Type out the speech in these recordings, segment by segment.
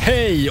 Hej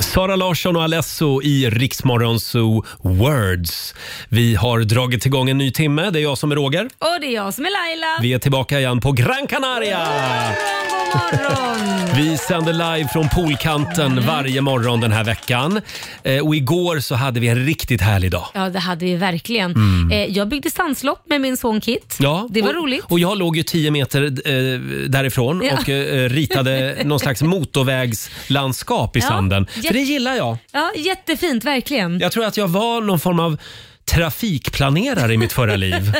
Sara Larsson och Alesso i Riksmorgon Zoo Words. Vi har dragit igång en ny timme. Det är jag som är Roger. Och det är jag som är Laila. Vi är tillbaka igen på Gran Canaria! God morgon! Vi sänder live från poolkanten varje morgon den här veckan. Eh, Och igår så hade vi en riktigt härlig dag. Ja, det hade vi verkligen. Eh, jag byggde stanslopp med min son Kit. det var Mm. och, roligt. Och jag låg ju 10 meter eh, därifrån Ja. och eh, ritade någon slags motorvägslandskap i Ja, sanden. jätte- För det gillar jag. Ja, jättefint, verkligen. Jag tror att jag var någon form av trafikplanerare i mitt förra liv.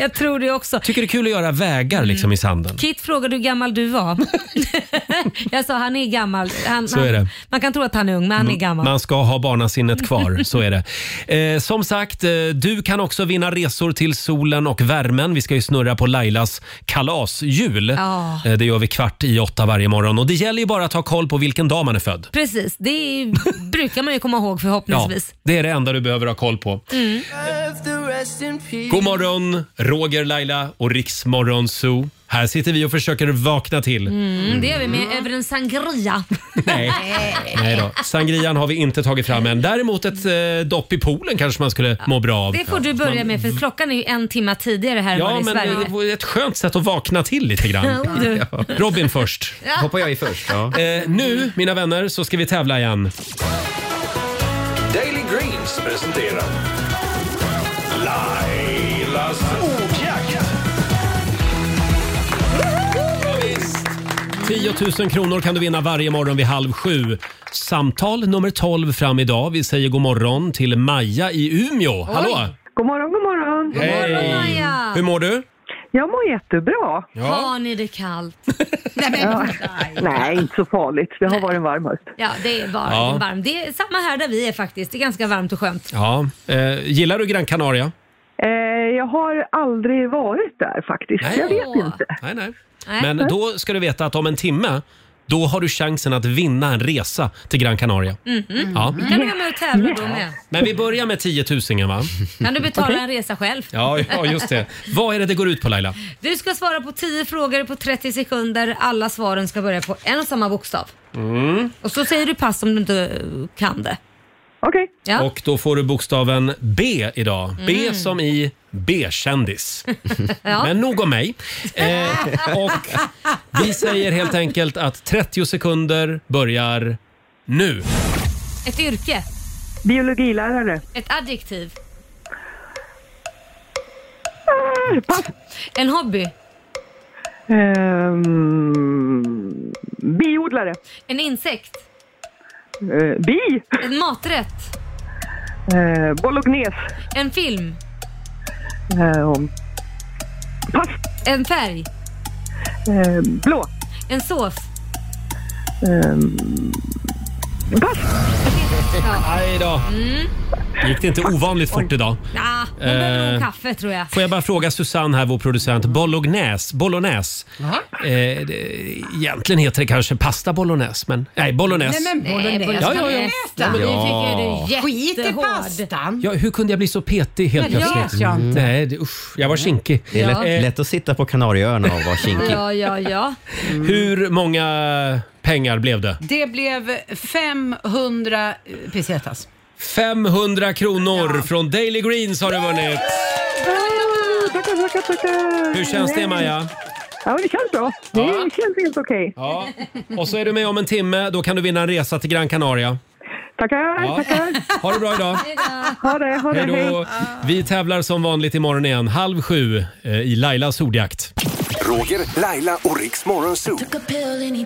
Jag tror det också. Tycker det är kul att göra vägar liksom i sanden. Kit frågade hur gammal du var. jag sa han är gammal. Han, Så är han, det. Mm. Man kan tro att han är ung, men han är gammal. Man ska ha barnasinnet kvar, så är det. Eh, som sagt, eh, du kan också vinna resor till solen och värmen. Vi ska ju snurra på Lailas kalasjul. Ja. Eh, det gör vi kvart i åtta varje morgon. Och det gäller ju bara att ha koll på vilken dag man är född. Precis, det är- brukar man ju komma ihåg förhoppningsvis. det är det enda du behöver ha koll på. Mm. God morgon, Roger, Laila och Riksmorgon Zoo. Här sitter vi och försöker vakna till. Mm, det gör vi med över en sangria. Nej. Nej då. Sangrian har vi inte tagit fram än. Däremot ett eh, dopp i poolen kanske man skulle må bra av. Det får du börja med för klockan är ju en timme tidigare här än vad det Ja, är i men Sverige. det vore ett skönt sätt att vakna till lite grann. Ja, du. Robin först. Hoppar jag i först? Ja. Eh, nu, mina vänner, så ska vi tävla igen. Daily Greens presenterar Lailas ordjakt. 10 000 kronor kan du vinna varje morgon vid halv sju. Samtal nummer 12 fram idag. Vi säger god morgon till Maja i Umeå. Hallå! God morgon, god morgon. Hej! Maja. Hur mår du? Jag mår jättebra. Har ni det kallt? Nej, men, nej. Nej, inte så farligt. Det har varit en varm höst. Ja, det är bara Ja. varmt. Det är samma här där vi är faktiskt. Det är ganska varmt och skönt. Ja. Eh, gillar du Gran Canaria? Eh, jag har aldrig varit där faktiskt. Nej. Jag vet Åh. inte. Nej, nej. Nej. Men då ska du veta att om en timme då har du chansen att vinna en resa till Gran Canaria. Ja. Kan du vara med och tävla då med? Men vi börjar med 10 000 va? Kan du betala en resa själv? Ja, ja, just det. Vad är det det går ut på Laila? Du ska svara på 10 frågor på 30 sekunder. Alla svaren ska börja på en och samma bokstav. Mm. Och så säger du pass om du inte eh, kan det. Okej. Ja. Och då får du bokstaven B idag. Mm. B som i B-kändis. Men nog om mig. Eh, och vi säger helt enkelt att 30 sekunder börjar nu. Ett yrke. Biologilärare. Ett adjektiv. Eh, pass. En hobby. Ehm, biodlare. En insekt. Eh, bi. En maträtt. Eh, bolognese. En film. Eh, pass. En färg. Eh, blå. En sås. Ehm, Pass. Aj då. Mm. Gick det inte ovanligt fort idag? Ah, hon behöver nog Eh. kaffe tror jag. Får jag bara fråga Susanne här, vår producent. Bolognese. Bolognese. Eh, det, egentligen heter det kanske pasta bolognese, men nej, bolognese. eh, bolognese. Ja, ja, ja. Ja, men nu fick jag det Skit i jättehård. pastan. Ja, hur kunde jag bli så petig helt Ja, det plötsligt? vet jag inte. Nej, det, usch, jag var kinkig. Det är Ja. lätt, lätt att sitta på Kanarieöarna och vara kinkig. Ja, ja, ja. Hur många pengar blev det? Det blev 500 eh, pesetas. 500 kronor från Daily Greens har du vunnit. Eh, Tackar, tackar, tackar. Hur känns det Maja? Ja, det känns bra. Ja. Det känns helt okej. Ja. Och så är du med om en timme, då kan du vinna en resa till Gran Canaria. Tackar, Ja. tackar. Ha det bra idag. Ha det, ha det. Hej då. Vi tävlar som vanligt imorgon igen, halv sju eh, i Lailas ordjakt. Roger, Laila och Riks Morgonzoo. Took a pill and he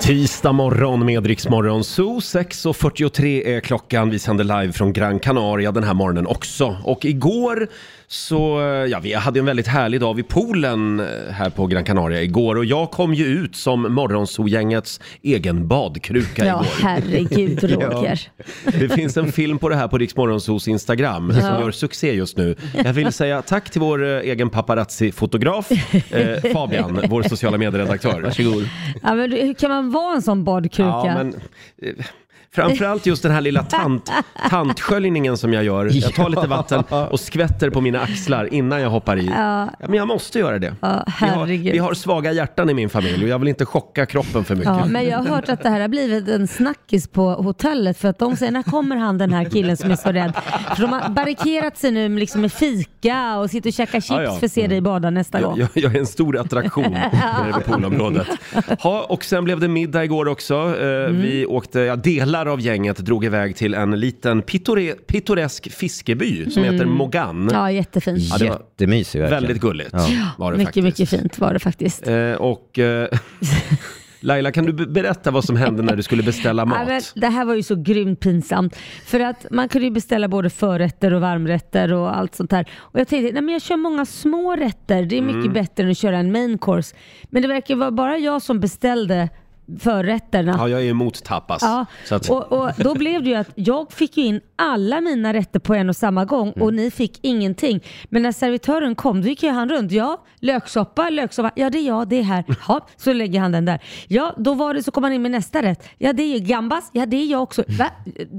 Tisdag morgon med Rix Morgon Zoo. 6.43 är klockan. Vi sänder live från Gran Canaria den här morgonen också. Och igår så, ja vi hade en väldigt härlig dag vid poolen eh, här på Gran Canaria igår. Och jag kom ju ut som Morgonzoo-gängets egen badkruka Ja, igår. herregud Roger. Det finns en film på det här på Rix Morgonzoos Instagram som gör succé just nu. Jag vill säga tack till vår eh, egen paparazzi-fotograf eh, Fabian, vår sociala medieredaktör. Varsågod. Ja, men hur kan man vara en sån badkruka? Ja, men eh, Framförallt just den här lilla tant, tantsköljningen som jag gör. Jag tar lite vatten och skvätter på mina axlar innan jag hoppar i. Ja. Men jag måste göra det. Ja, vi, har, herregud. vi har svaga hjärtan i min familj och jag vill inte chocka kroppen för mycket. Ja, men jag har hört att det här har blivit en snackis på hotellet för att de säger när kommer han den här killen som är så rädd? För de har barrikerat sig nu med liksom med fika och sitter och käkar chips Ja, ja. Mm. för att se dig bada nästa gång. Jag, jag, jag är en stor attraktion nere vid poolområdet. Ha, och sen blev det middag igår också. Eh, Mm. Vi åkte, ja, delar av gänget drog iväg till en liten pittore, pittoresk fiskeby som heter Mogan. Mm. Ja, jättefint. det var Jättemysig verkligen. Väldigt gulligt var det mycket, faktiskt. mycket fint var det faktiskt. Eh, och eh, Laila, kan du be- berätta vad som hände när du skulle beställa Ja, men mat? det här var ju så grymt pinsamt. För att man kunde ju beställa både förrätter och varmrätter och allt sånt där. Och jag tänkte, nej men jag kör många små rätter. Det är mycket Mm. bättre än att köra en main course. Men det verkar vara bara jag som beställde förrätterna. Ja, jag är emot tapas. Ja, Så att, och, och då blev det ju att jag fick ju in alla mina rätter på en och samma gång Mm. och ni fick ingenting. Men när servitören kom då gick ju han runt. Ja, löksoppa, löksoppa. Ja, det är jag, det är här. Ja, så lägger han den där. Ja, då var det så kom han in med nästa rätt. Ja, det är ju gambas. Ja, det är jag också. Va?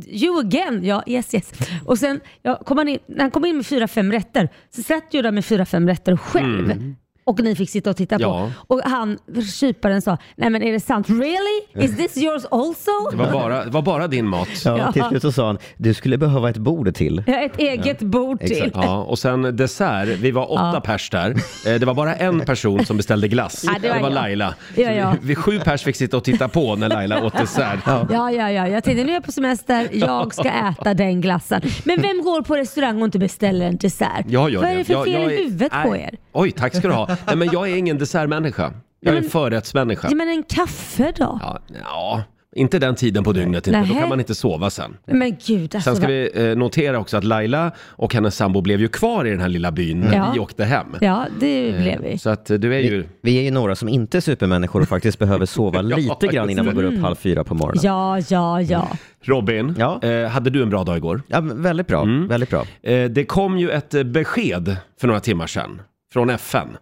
You again? Ja, yes yes. Och sen ja, kom han in, när han kom in med fyra, fem rätter så satt ju där med fyra, fem rätter själv. Och ni fick sitta och titta Mm. Ja. på. Och han, kyparen sa, nej men är det sant? Really? Is this yours also? det, var bara, det var bara din mat. Ja. Ja, till slut så sa han, du skulle behöva ett bord till. Ja, ett eget bord till. Exakt. Ja, och sen dessert. Vi var åtta pers där. Eh, Det var bara en person som beställde glass. Ja, det var jag. Laila. Det var jag. Så vi- Vi sju pers fick sitta och titta på när Laila åt dessert. Ja, ja, ja. Jag tänkte nu är jag på semester, jag ska äta den glassen. Men vem går på restaurang och inte beställer en dessert? Jag gör Vad är det. det för jag, fel jag i är- huvudet på Nej. er? Oj, tack ska du ha. Nej, men jag är ingen dessertmänniska. Jag är en förrättsmänniska. Ja, men en kaffe då? Ja, ja, inte den tiden på dygnet inte. Då Nähä. kan man inte sova sen. Men gud alltså. Sen ska vad- vi eh, notera också att Laila och hennes sambo blev ju kvar i den här lilla byn när Ja. vi åkte hem. Ja, det blev vi. Så att eh, du är ju... Vi är ju några som inte är supermänniskor och faktiskt behöver sova lite grann innan man går upp halv fyra på morgonen. Ja. Ja, ja, ja. Robin, Ja. eh, hade du en bra dag igår? men väldigt bra, väldigt bra. Eh, det kom ju ett eh, besked för några timmar sedan från FN.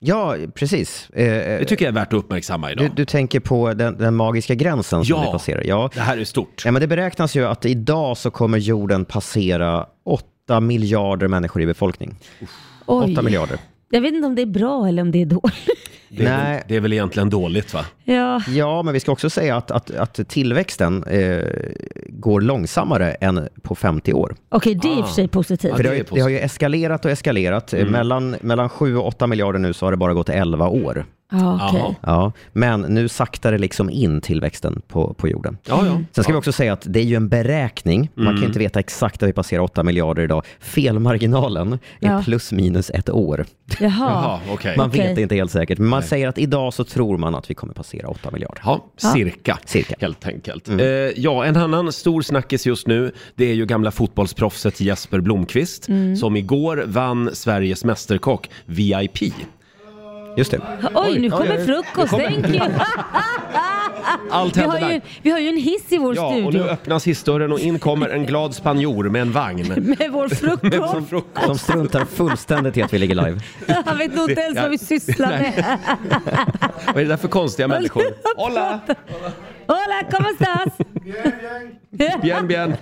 Ja, precis. Eh, eh, Det tycker jag är värt att uppmärksamma idag. du, du tänker på den, den magiska gränsen som Ja. vi passerar. Ja. Det här är stort. ja, men det beräknas ju att idag så kommer jorden passera 8 miljarder människor i befolkning. 8 Oj. miljarder. Jag vet inte om det är bra eller om det är dåligt. Det är, Nej. väl, det är väl egentligen dåligt va? Ja, Ja, men vi ska också säga att, att, att tillväxten eh, går långsammare än på 50 år. okej det är i och för sig positivt. Ah. Ja, För det det, har är ju, positivt. Mm. det har ju eskalerat och eskalerat. Eh, Mellan, mellan 7 och 8 miljarder nu så har det bara gått 11 år. Ja, okej. Jaha. Ja, men nu saktar det liksom in tillväxten på, på jorden. Ja, ja. Mm. Sen ska vi också säga att det är ju en beräkning. Man kan ju inte veta exakt att vi passerar 8 miljarder idag. Felmarginalen är Ja. plus minus ett år. Jaha, Jaha. okej. Man Okej. vet inte helt säkert, men man säger att idag så tror man att vi kommer passera 8 miljarder. Ja, cirka. Cirka. Helt enkelt. Mm. Eh, ja, en annan stor snackis just nu, det är ju gamla fotbollsproffset Jesper Blomqvist Mm. som igår vann Sveriges Mästerkock VIP. Just det. Oj, nu kommer oj. frukost. Thank you. Allt Vi hände har, ju, vi har ju en hiss i vår Ja, och nu studio öppnas hissdörren och in kommer en glad spanjor med en vagn. med vår frukost. De struntar fullständigt i att vi ligger live. Han vet nog inte ens vad vi sysslar med. Vad är det där för konstiga människor? Hola! Hola, ¿cómo estás? Bien, bien.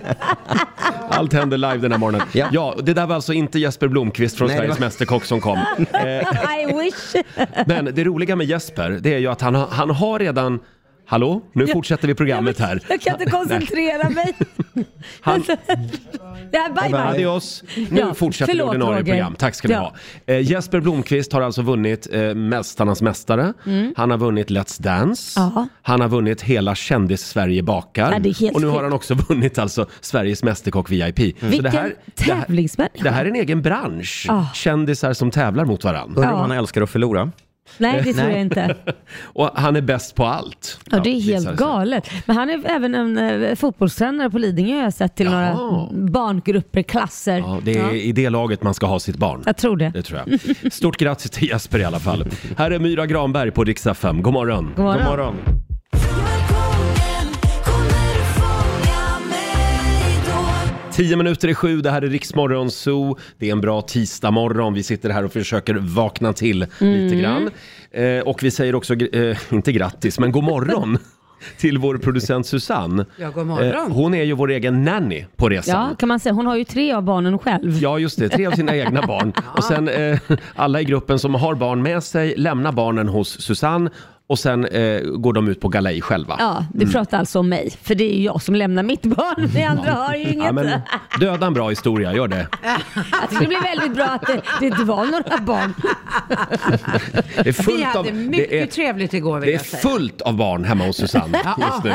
Allt händer live den här morgonen. Ja. Ja, och det där var alltså inte Jesper Blomqvist från Nej, det Sveriges var- Mästerkock som kom. I wish. Men det roliga med Jesper, det är ju att han, har- han har redan... Hallå? Nu fortsätter vi programmet här. Jag kan inte koncentrera mig. Han- Ja, bye bye. Adios! Nu Ja, fortsätter förlåt, det ordinarie Roger. program. Tack ska ni Ja. ha. Eh, Jesper Blomqvist har alltså vunnit eh, Mästarnas Mästare. Han har vunnit Let's Dance. Mm. Ja. Han har vunnit hela Kändis-Sverige bakar. Ja, det är helt och nu har sjukt. han också vunnit alltså Sveriges Mästerkock VIP. Mm. Vilken tävlingsmänniska. Det här är en egen bransch. Ah. Kändisar som tävlar mot varandra. Undrar om Ja. han älskar att förlora. Nej, det tror Nej. jag inte. Och han är bäst på allt. Ja, det är visar helt sig. galet. Men han är även en eh, fotbollstränare på Lidingö har jag sett till några Jaha. barngrupper, klasser. Ja, det är i det laget man ska ha sitt barn. Jag tror det. Det tror jag. Stort grattis till Jesper i alla fall. Här är Myra Granberg på Dix FM. God morgon. God morgon. God morgon. Tio minuter i sju, det här är Riksmorgon Zoo. Det är en bra tisdagmorgon. Vi sitter här och försöker vakna till lite grann. Eh, och vi säger också, gr- eh, inte grattis, men god morgon till vår producent Susanne. Ja, god morgon. Eh, Hon är ju vår egen nanny på resan. Ja, kan man säga. Hon har ju tre av barnen själv. Ja, just det. Tre av sina egna barn. Och sen eh, alla i gruppen som har barn med sig lämnar barnen hos Susanne och sen eh, går de ut på galej själva. Ja, du Mm. pratar alltså om mig, för det är ju jag som lämnar mitt barn. Ni andra har ju inget. Ja, men, döda en bra historia, gör det. Jag tycker det blir väldigt bra att det, det inte var några barn. Det är Vi fullt av, hade mycket det är, trevligt igår vill det är jag säga. fullt av barn hemma hos Susanne just nu.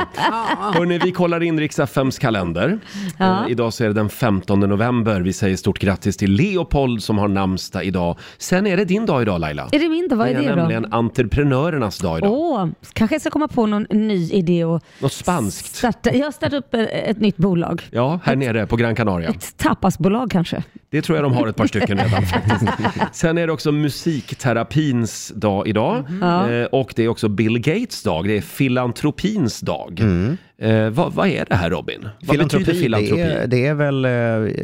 Hörrni, vi kollar in riks FMs kalender. Eh, idag så är det den 15 november. Vi säger stort grattis till Leopold som har namnsdag idag. Sen är det din dag idag Laila. Är det min då? Vad är det är det då? nämligen entreprenörernas dag idag. Åh, kanske jag ska komma på någon ny idé och Något spanskt. starta. Jag startar upp ett, ett nytt bolag. Ja, här nere på Gran Canaria. Ett tapasbolag kanske. Det tror jag de har ett par stycken redan faktiskt. Sen är det också musikterapins dag idag. Eh, och det är också Bill Gates dag. Det är filantropins dag. Eh, vad, vad är det här Robin? Vad betyder filantropi? Det, är, det är väl eh,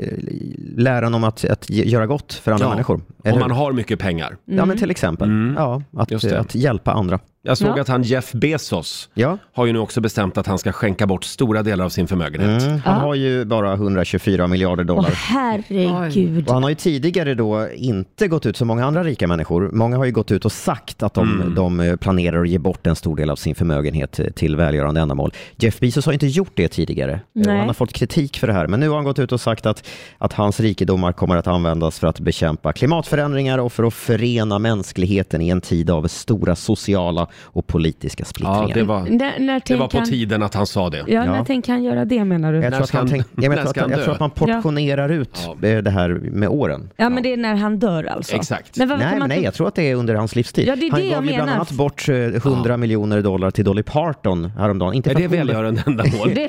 läran om att, att ge- göra gott för andra Ja, människor. Om eller man hur? har mycket pengar. Ja, men till exempel. Ja, att, Just det. att hjälpa andra. Jag såg Ja. att han Jeff Bezos Ja. har ju nu också bestämt att han ska skänka bort stora delar av sin förmögenhet. Han har ju bara 124 miljarder Åh dollar. herregud. Och han har ju tidigare då inte gått ut som många andra rika människor. Många har ju gått ut och sagt att de, Mm. de eh, planerar att ge bort en stor del av sin förmögenhet eh, till välgörande ändamål. Jeff Bezos har inte gjort det tidigare. Eh, Nej. Och han har fått kritik för det här. Men nu har han gått ut och sagt att, att hans rikedomar kommer att användas för att bekämpa klimatförändringar och för att förena mänskligheten i en tid av stora sociala och politiska Ja, splittringar. det var, När, när det var tänker på han- tiden att han sa det. Ja, när Ja. tänker han göra det menar du? Jag När tror, att ska han han- tänk, jag, när menar, att, ska han jag dö? tror att man portionerar ut eh, det här med åren. Ja, men det är när han dör alltså? Exakt. Men varför Nej, kan men man nej, inte- jag tror att det är under hans livstid. Ja, det är han det gav jag ju bland menar. annat bort eh, 100 miljoner dollar till Dolly Parton häromdagen. Inte Är för det att hon- välgörande ändamål? Det,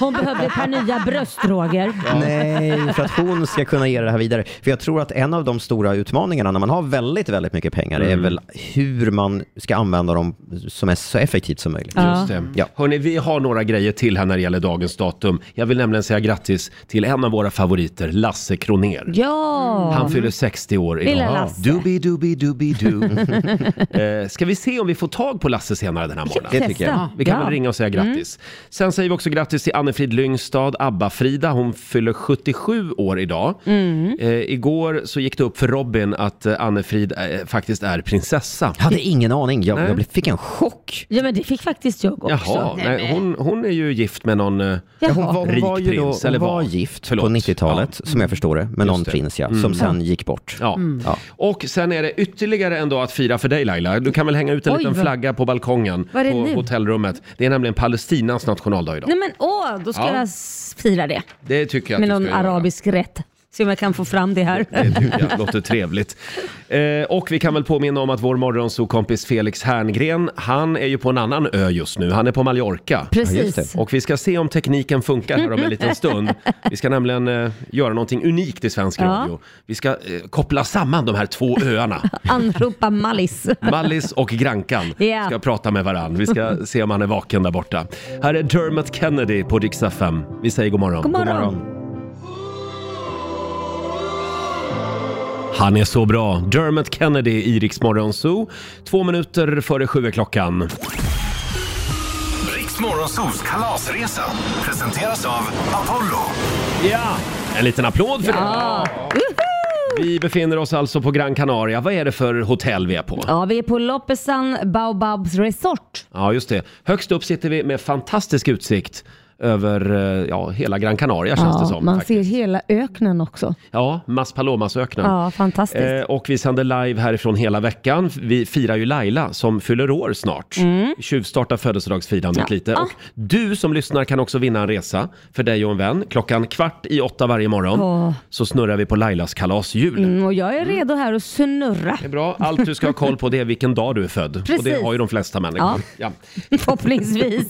hon behövde ett par nya bröst, Roger. Nej, för att hon ska kunna ge det här vidare. För jag tror att en av de stora utmaningarna när man har väldigt, väldigt mycket pengar Mm. är väl hur man ska använda dem som är så effektivt som möjligt. Just det. Ja. Hörni, vi har några grejer till här när det gäller dagens datum. Jag vill nämligen säga grattis till en av våra favoriter, Lasse Kroner. Ja! Han fyller 60 år Lilla idag. Lasse. Dubi, dubi, dubi, du. eh, ska vi se om vi får tag på Lasse senare den här morgonen? tycker jag. Typ Testa. Vi kan ja. väl ringa och säga Mm. grattis. Sen säger vi också grattis till Annefrid Lyngstad, ABBA-Frida. Hon fyller 77 år idag. Mm. Eh, igår så gick det upp för Robin att eh, Annefrid eh, faktiskt är prinsessa. Jag hade ingen aning. Jag, jag blev- fick en chock. Ja men det fick faktiskt jag också. Jaha, nej, hon, hon är ju gift med någon... eh, Jaha. Hon var, hon Rik var ju då, prins, hon eller var vad? gift Förlåt. på 90-talet, som jag förstår det, med någon det. Mm. prins ja, som sen gick bort. Ja. Mm. Och sen är det ytterligare en dag att fira för dig Laila. Du kan väl hänga ut en Oj, liten vad- flagga på balkongen Vad är det på nu? hotellrummet. Det är nämligen Palestinas nationaldag idag. Nej men åh, då ska Ja. jag s- fira det. Det tycker jag att Med du ska någon göra. arabisk rätt. Se om jag kan få fram det här. Det tycker jag låter trevligt. Eh, och vi kan väl påminna om att vår morgonsokompis Felix Herngren, han är ju på en annan ö just nu. Han är på Mallorca. just Precis. det. Och vi ska se om tekniken funkar här om en liten stund. Vi ska nämligen eh, göra någonting unikt i svensk Ja. radio. Vi ska eh, koppla samman de här två öarna. Anropa Mallis. Mallis och Grankan Ja. ska prata med varann. Vi ska se om han är vaken där borta. Här är Dermot Kennedy på Dix FM. Vi säger god morgon. God morgon. Han är så bra. Dermot Kennedy i Rix Morgon Zoo. Två minuter före sju är klockan. Riks Morgonzoos kalasresa presenteras av Apollo. Ja! En liten applåd för Ja. det. Vi befinner oss alltså på Gran Canaria. Vad är det för hotell vi är på? ja, vi är på Loppesan Baobabs Resort. Ja, just det. Högst upp sitter vi med fantastisk utsikt över eh, ja, hela Gran Canaria känns det som. man faktiskt. ser hela öknen också. Ja, Mas Palomas-öknen. Ja, fantastiskt. Eh, och vi sänder live härifrån hela veckan. Vi firar ju Laila som fyller år snart. Tjuvstartar födelsedagsfirandet Mm. lite. Ja. Ah. Och du som lyssnar kan också vinna en resa för dig och en vän. Klockan kvart i åtta varje morgon Åh. så snurrar vi på Lailas kalashjul. Mm, och jag är redo här att snurra. Det är bra. Allt du ska ha koll på det är vilken dag du är född. Och det Precis. har ju de flesta människor. Ja. Förhoppningsvis.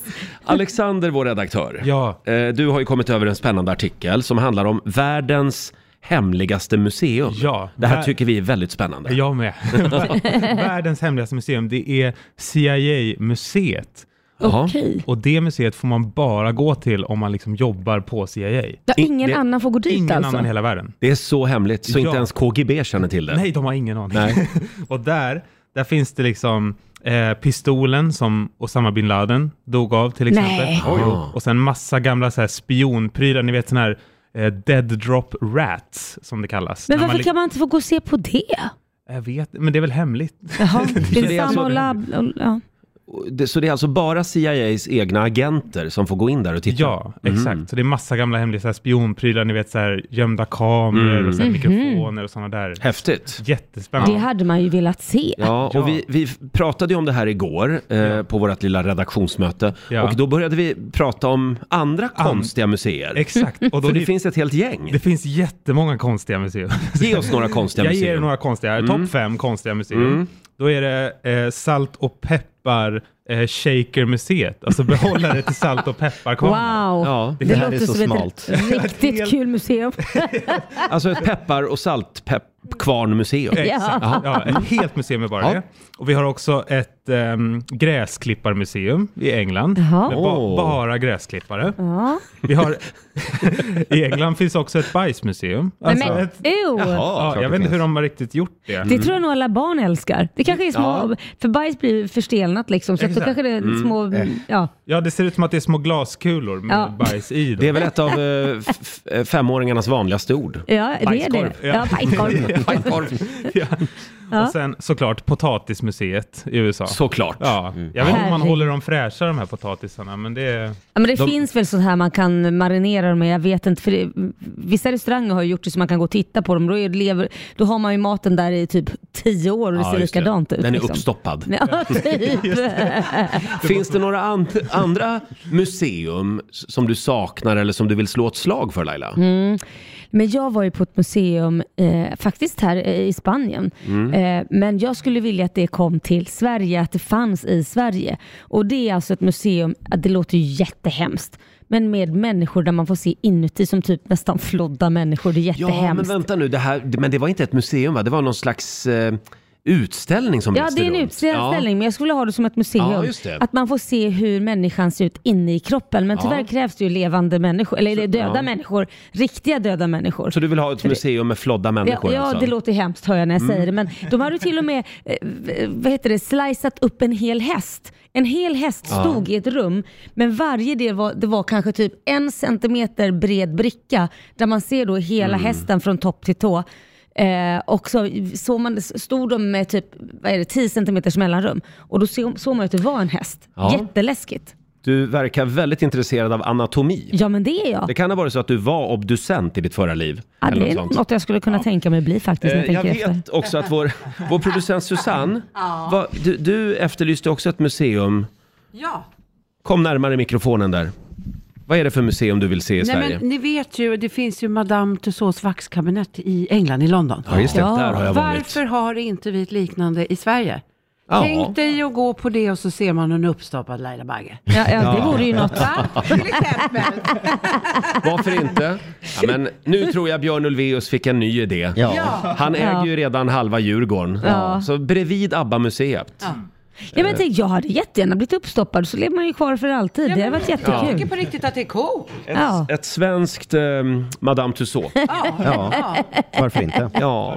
Alexander, vår redaktör. Ja. Eh, du har ju kommit över en spännande artikel som handlar om världens hemligaste museum. Ja. det här Vär- tycker vi är väldigt spännande. Jag med. Världens hemligaste museum, det är CIA-museet. Jaha. Okej. Och det museet får man bara gå till om man liksom jobbar på CIA. Ja, ingen det- annan får gå dit Ingen alltså? annan i hela världen. Det är så hemligt så Ja. inte ens KGB känner till det. Nej, de har ingen aning. och där, där finns det liksom eh, pistolen som Osama bin Laden dog av till exempel. Nej. Oj. Och sen massa gamla så här spionprylar, ni vet sån här eh, dead drop rats som det kallas. Men När varför lig- kan man inte få gå och se på det? Jag vet men det är väl hemligt? Jaha, det är alltså- alltså... lab... och- Ja. Det- Så det är alltså bara CIAs egna agenter som får gå in där och titta? Ja, exakt. Så det är massa gamla hemliga så här spionprylar, ni vet så här gömda kameror Mm. och så här mikrofoner och sådana där. Häftigt. Jättespännande. Mhm. Det hade man ju velat se. Ja, Ja. och vi, vi pratade ju om det här igår eh, på vårt lilla redaktionsmöte. Ja. Och då började vi prata om andra konstiga museer. Exakt. Och då För det det, finns... finns ett helt gäng. det finns jättemånga konstiga museer. Ge oss några konstiga Jag museer. Mm. ger er några konstiga, topp fem konstiga museer. Då är det eh, Salt och peppar eh, Shaker-museet, alltså behållare till salt och peppar Wow! Ja, Det, Det här är låter så som smalt. ett riktigt kul museum. alltså ett peppar och saltkvarnmuseum. Exakt. Jaha. Ja, ett helt museum är bara Ja. det. Och vi har också ett ehm, gräsklipparmuseum i England. Jaha. Med ba- Åh. bara gräsklippare. Ja. Vi har, I England finns också ett bajsmuseum. Nej, Alltså men ett, ew! Ja, ja, jag vet inte hur de har riktigt gjort det. Det tror jag nog alla barn älskar. Det kanske är små, för bajs blir ju förstelnat liksom, så att då Exakt. kanske det är små, ja. Ja, det ser ut som att det är små glaskulor med Ja. bajs i. Dem. Det är väl ett av eh, f- f- eh, femåringarnas vanligaste ord. Ja, det är det. Bajskorv. Ja, bajskorv. ja. Och sen såklart potatismuseet i USA. Såklart. Ja, jag vet inte om man Herregud. håller dem fräscha de här potatisarna, men det är... Ja, men det finns väl sånt här man kan marinera dem med, jag vet inte. För det, vissa restauranger har ju gjort det så man kan gå och titta på dem. Då, är det lever, då har man ju maten där i typ tio år och det ser just likadant ut. Den är liksom. uppstoppad. Ja, typ. Finns det några an- andra museum s- som du saknar eller som du vill slå ett slag för Laila? Mm, Men jag var ju på ett museum eh, faktiskt här eh, i Spanien. Mm. Eh, men jag skulle vilja att det kom till Sverige, att det fanns i Sverige. Och det är alltså ett museum, att det låter ju jättehemskt. Men med människor där man får se inuti som typ nästan flodda människor. Det är Ja, men jättehemskt. vänta nu, det här, men det var inte ett museum va? Det var någon slags eh, utställning som Ja, reste det är en runt. utställning, men jag skulle ha det som ett museum. Ja, just det. Att man får se hur människan ser ut inne i kroppen. Men Ja. tyvärr krävs det ju levande människor, eller döda ja. människor, riktiga döda människor. Så du vill ha ett museum med flodda Ja, människor ja, alltså? det låter hemskt hör jag när jag säger det. Mm. Men de hade till och med, eh, v- vad heter det, sliceat upp en hel häst. En hel häst stod i ett rum, men varje del var, det var kanske typ en centimeter bred bricka där man ser då hela Mm. hästen från topp till tå. Eh, och så såg man, stod de med typ vad är det, 10 centimeters mellanrum och då såg, såg man att det var en häst. Ja. Jätteläskigt. Du verkar väldigt intresserad av anatomi. Ja men det är jag. Det kan ha varit så att du var obducent i ditt förra liv. Ja, eller det är något sånt. något jag skulle kunna tänka mig bli faktiskt när jag Eh, Jag tänker vet efter. också att vår, vår producent Susanne, vad- du, du efterlyste också ett museum. Ja. Kom närmare mikrofonen där. Vad är det för museum du vill se i Nej, Sverige? men ni vet ju, det finns ju Madame Tussauds vaxkabinett i England, i London. Ja, just det. Ja. Där har jag varit. Varför har inte vi ett liknande i Sverige? Ja. Tänk dig att gå på det och så ser man en uppstoppad Laila Bagge. Ja, ja, det vore ju något. Va? Till exempel. Varför inte? Ja, men nu tror jag Björn Ulvaeus fick en ny idé. Ja. Han äger Ja. ju redan halva Djurgården. Ja. Så bredvid ABBA-museet. Ja, men jag, tänkte, jag hade jättegärna blivit uppstoppad så lever man ju kvar för alltid. det hade varit Jag jättekul. tycker på riktigt att det är coolt. Ja. Ett svenskt ehm, Madame Tussauds. ja, varför inte? Ja,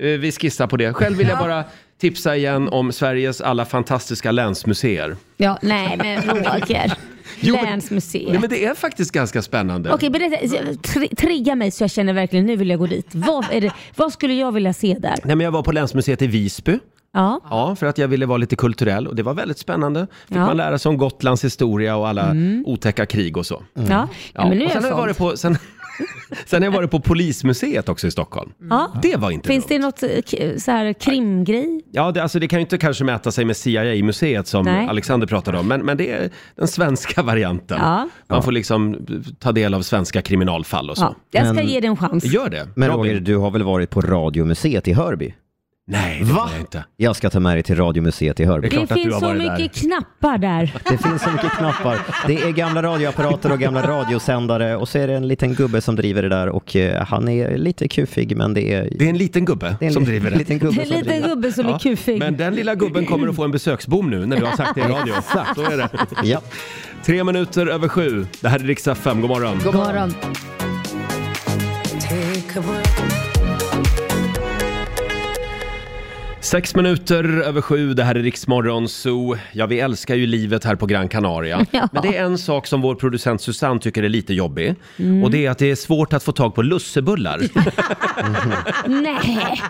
eh, vi skissar på det. Själv vill jag bara tipsa igen om Sveriges alla fantastiska länsmuseer. ja, nej men Roger. Jo, men- Länsmuseet. Ja, men det är faktiskt ganska spännande. Okej, berätta, så- tri- trigga mig så jag känner verkligen nu vill jag gå dit. Vad, är det, vad skulle jag vilja se där? Nej, men jag var på länsmuseet i Visby. Ja. Ja, för att jag ville vara lite kulturell och det var väldigt spännande. Fick Ja. man lära sig om Gotlands historia och alla otäcka krig och så. Ja. Mm. ja. Ja. men nu och är sen jag har jag såld. varit på, sen, sen har jag varit på polismuseet också i Stockholm. Ja. Det var inte Finns dumt. det något eh, k- så här, krimgrej? Ja, det, alltså, det kan ju inte kanske mäta sig med CIA-museet som Nej. Alexander pratade om, men, men det är den svenska varianten. Ja. Man får liksom ta del av svenska kriminalfall och så. Ja. Jag ska Men- ge det en chans. Gör det. Men Robin? Roger, du har väl varit på Radiomuseet i Hörby? Nej, det Va? har jag inte. Jag ska ta med dig till Radiomuseet i Hörby. Det är klart Det att du finns har så varit där. mycket knappar där. Det finns så mycket knappar. Det är gamla radioapparater och gamla radiosändare och så är det en liten gubbe som driver det där och eh, han är lite kufig men det är... Det är en liten gubbe är en som li- driver det. liten gubbe En som liten driver. gubbe som är kufig. Men den lilla gubben kommer att få en besöksbom nu när du har sagt det i radio. Så är det. Ja. Tre minuter över sju. Det här är riksdag 5. God morgon. God morgon. Sex minuter över sju, det här är Riksmorgon Zoo. Ja, vi älskar ju livet här på Gran Canaria. Ja. Men det är en sak som vår producent Susanne tycker är lite jobbig. Mm. Och det är att det är svårt att få tag på lussebullar. Nej.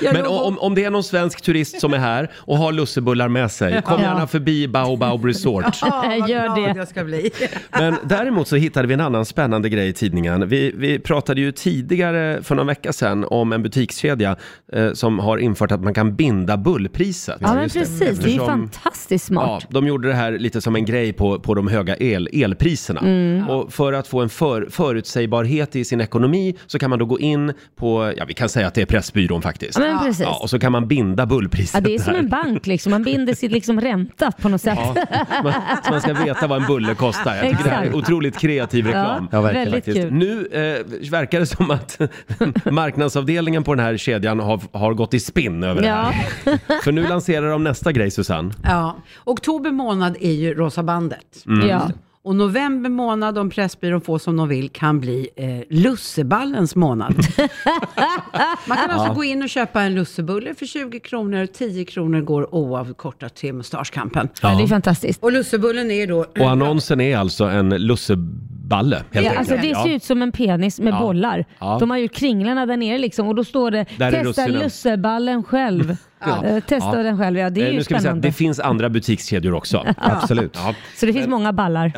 Jag Men låg och- om, om det är någon svensk turist som är här och har lussebullar med sig, kom Ja. gärna förbi Baobab Resort. Ja, vad Gör glad det. jag ska bli. Men däremot så hittade vi en annan spännande grej i tidningen. Vi, vi pratade ju tidigare för någon vecka sedan om en butikskedja eh, som har infört att man kan binda bullpriset. Ja men precis, det, är ju Eftersom- fantastiskt Ja, smart. de gjorde det här lite som en grej på, på de höga el, elpriserna. Mm. Och för att få en för, förutsägbarhet i sin ekonomi så kan man då gå in på, ja vi kan säga att det är Pressbyrån faktiskt. Ja, men precis. Ja, och så kan man binda bullpriset Ja, det är som där. en bank liksom, man binder sitt liksom ränta på något sätt. Ja, man, så man ska veta vad en bulle kostar. Jag tycker det här är Exakt. otroligt kreativ reklam. Ja, verkligen. väldigt Faktiskt. kul. Nu eh, verkar det som att marknadsavdelningen på den här kedjan har, har gått i spinn över det Ja. här. För nu lanserar de nästa grej Susanne. Ja. Oktober månad är ju Rosa bandet. Mm. Ja. Och november månad, om Pressbyrån får som de vill, kan bli eh, lusseballens månad. Man kan alltså gå in och köpa en lussebulle för 20 kronor. 10 kronor går oavkortat till Mustaschkampen. ja, det är fantastiskt. Och lussebullen är då... Och annonsen är alltså en lusseballe helt Ja, enkelt. alltså det ser Ja. ut som en penis med bollar. Ja. De har gjort kringlarna där nere liksom och då står det Där är testa russinen." lusseballen själv. Eh, testa Ja. den själv, ja det är Eh, ju nu ska vi säga att det spännande. finns andra butikskedjor också. Absolut. Ja. Så det finns många ballar.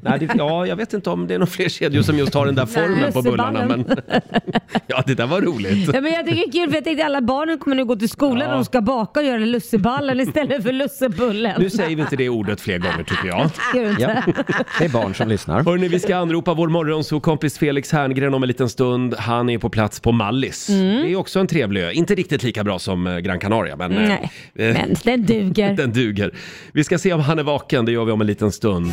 Nej, det, ja, jag vet inte om det är några fler kedjor som just har den där formen på bullarna. Men, lusseballen. ja, det där var roligt. Ja, men jag tycker det är kul för jag tänkte alla barnen kommer nu gå till skolan och de ska baka och göra lusseballen istället för lussebullen. Nu säger vi inte det ordet fler gånger tycker jag. Gör du inte? Ja. Det är barn som lyssnar. Hörni, vi ska anropa vår morgonsåkompis Felix Herngren om en liten stund. Han är på plats på Mallis. Mm. Det är också en trevlig ö. Inte riktigt lika bra som eh, Gran Canaria, men... eh, Nej, eh, men den duger. Den duger. Vi ska se om han är vaken, det gör vi om en liten stund.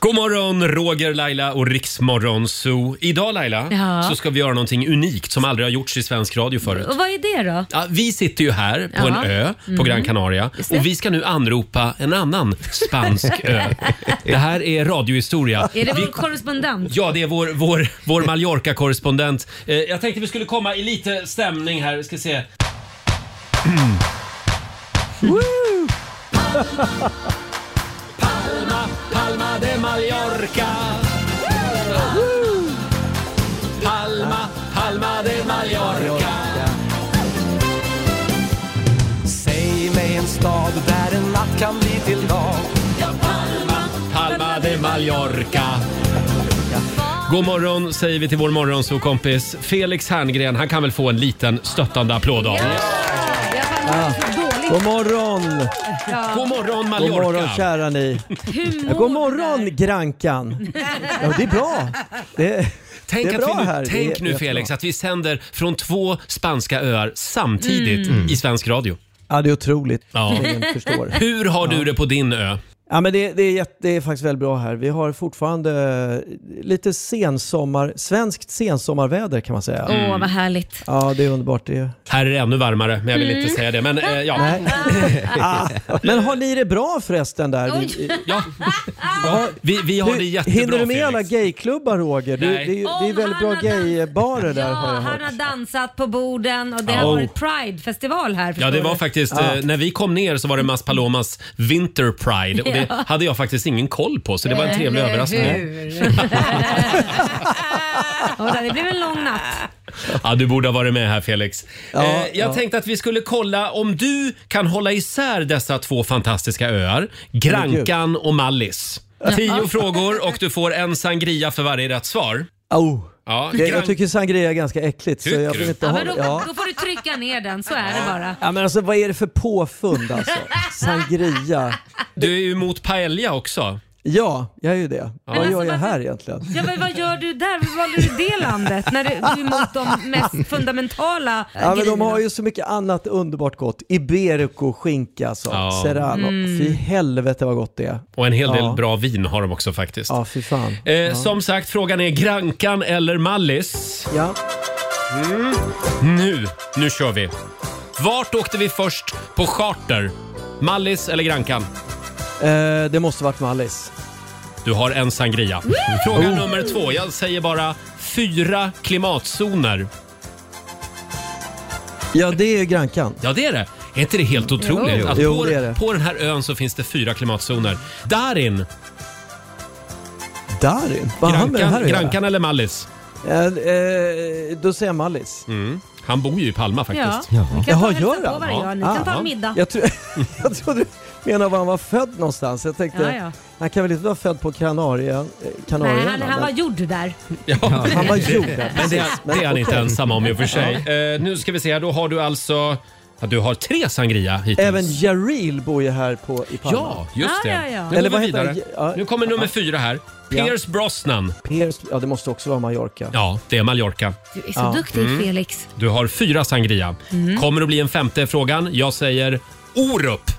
God morgon, Roger, Laila och Riksmorgon Zoo. Idag Laila, Ja. så ska vi göra någonting unikt som aldrig har gjorts i svensk radio förut. Och vad är det då? Ja, vi sitter ju här på Ja. en ö på Gran Canaria och vi ska nu anropa en annan spansk ö. Det här är radiohistoria. Är det Vi- vår korrespondent? Ja, det är vår, vår, vår Mallorca-korrespondent. Eh, jag tänkte vi skulle komma i lite stämning här. Vi ska se. Palma, Palma de Mallorca. Palma, Palma de Mallorca. Säg mig en stad där en natt kan bli till dag. Palma de Mallorca. God morgon säger vi till vår morgonsokompis Felix Herngren. Han kan väl få en liten stöttande applåd av oss. Jag var så dåligt. God morgon! God morgon God Mallorca! morgon kära ni. Humor God morgon Grankan. Ja, det är bra. Det, Tänk, det är att vi bra nu, här. tänk Det är nu Felix jättebra. att vi sänder från två spanska öar samtidigt Mm. i svensk radio. ja, det är otroligt. Ja. Ingen förstår. Hur har du det på din ö? Ja, men det, det, är jätte, det är faktiskt väldigt bra här. Vi har fortfarande lite sensommar, svenskt sensommarväder kan man säga. Åh, Mm. vad härligt. Ja, det är underbart. Det. Här är det ännu varmare, men jag vill inte säga det. Men eh, ja. Nej. Ah, men har ni det bra förresten där? Vi, ja. ja. Vi, vi har det jättebra Hinner du med Felix. alla gayklubbar Roger? Du, det, Nej. är ju- det Om är väldigt bra han hade- gaybarer där Ja, har jag han har hört. dansat på borden och det har Oh. varit Pride-festival här. Ja, förstår det var du. faktiskt, eh, när vi kom ner så var det Mas Palomas Winter Pride och det hade jag faktiskt ingen koll på så det var en trevlig överraskning. Och det blev en lång natt. Ja, du borde ha varit med här Felix. Ja, eh, jag ja. tänkte att vi skulle kolla om du kan hålla isär dessa två fantastiska öar, Grankan och Mallis. Tio frågor och du får en sangria för varje rätt svar. Oh. Ja, Det, Gran- jag tycker sangria är ganska äckligt. Så Tycker jag vill du? inte Ja, ha men då, det. Ja. då får du trycka ner den, så är det bara. ja men alltså vad är det för påfund alltså? Sangria. Du är ju emot paella också. Ja, jag är ju det. Vad alltså, gör jag varför- här egentligen? Ja, men vad gör du där? Varför valde du det landet? När du, du är emot de mest fundamentala Ja, men de grejerna. har ju så mycket annat underbart gott. Iberico, skinka alltså. Ja. Serrano. Fy helvete vad gott det är. Och en hel del Ja. bra vin har de också faktiskt. Ja, fy fan. Eh, Som sagt, frågan är Grankan eller Mallis? Mm. Ja. Nu, nu kör vi. Vart åkte vi först på charter? Mallis eller Grankan? Eh, det måste varit med Alice. Mm. Oh. Du har en sangria. Fråga nummer två. Jag säger bara fyra klimatzoner. Ja, det är Grankan. Ja, det är det. Är inte det helt otroligt? Jo. Att Jo, på, det är det. på den här ön så finns det fyra klimatzoner. Darin, Darin? Vad har han med det här Grankan, att göra? Grankan eller Mallis? Eh, eh, då säger jag Mallis. Han bor ju i Palma faktiskt. Ja. vi kan ta Jaha, och hälsa gör på han? varje dag. Ni kan ta en middag. Jag, tro, jag trodde du menade var han var född någonstans. Jag tänkte, Ja, ja. han kan väl inte vara född på Kanarien? Nej, Kanarien han, han var gjord där. Ja. Han var gjord där, Men precis. det, det är han Men inte okej. ensam om i och för sig. Eh, nu ska vi se här, då har du alltså... Ja, du har tre sangria hittills. Även Jaril bor ju här på, i Palma. Ja, just det. Nu Eller går vad vi heter vidare. han? Ja, Nu kommer nummer fyra här. Ja. Pierce Brosnan. Pierce, ja det måste också vara Mallorca. Ja, det är Mallorca. Du är så Ja. duktig Mm. Felix. Du har fyra sangria. Mm. Kommer att bli en femte frågan. Jag säger Orup.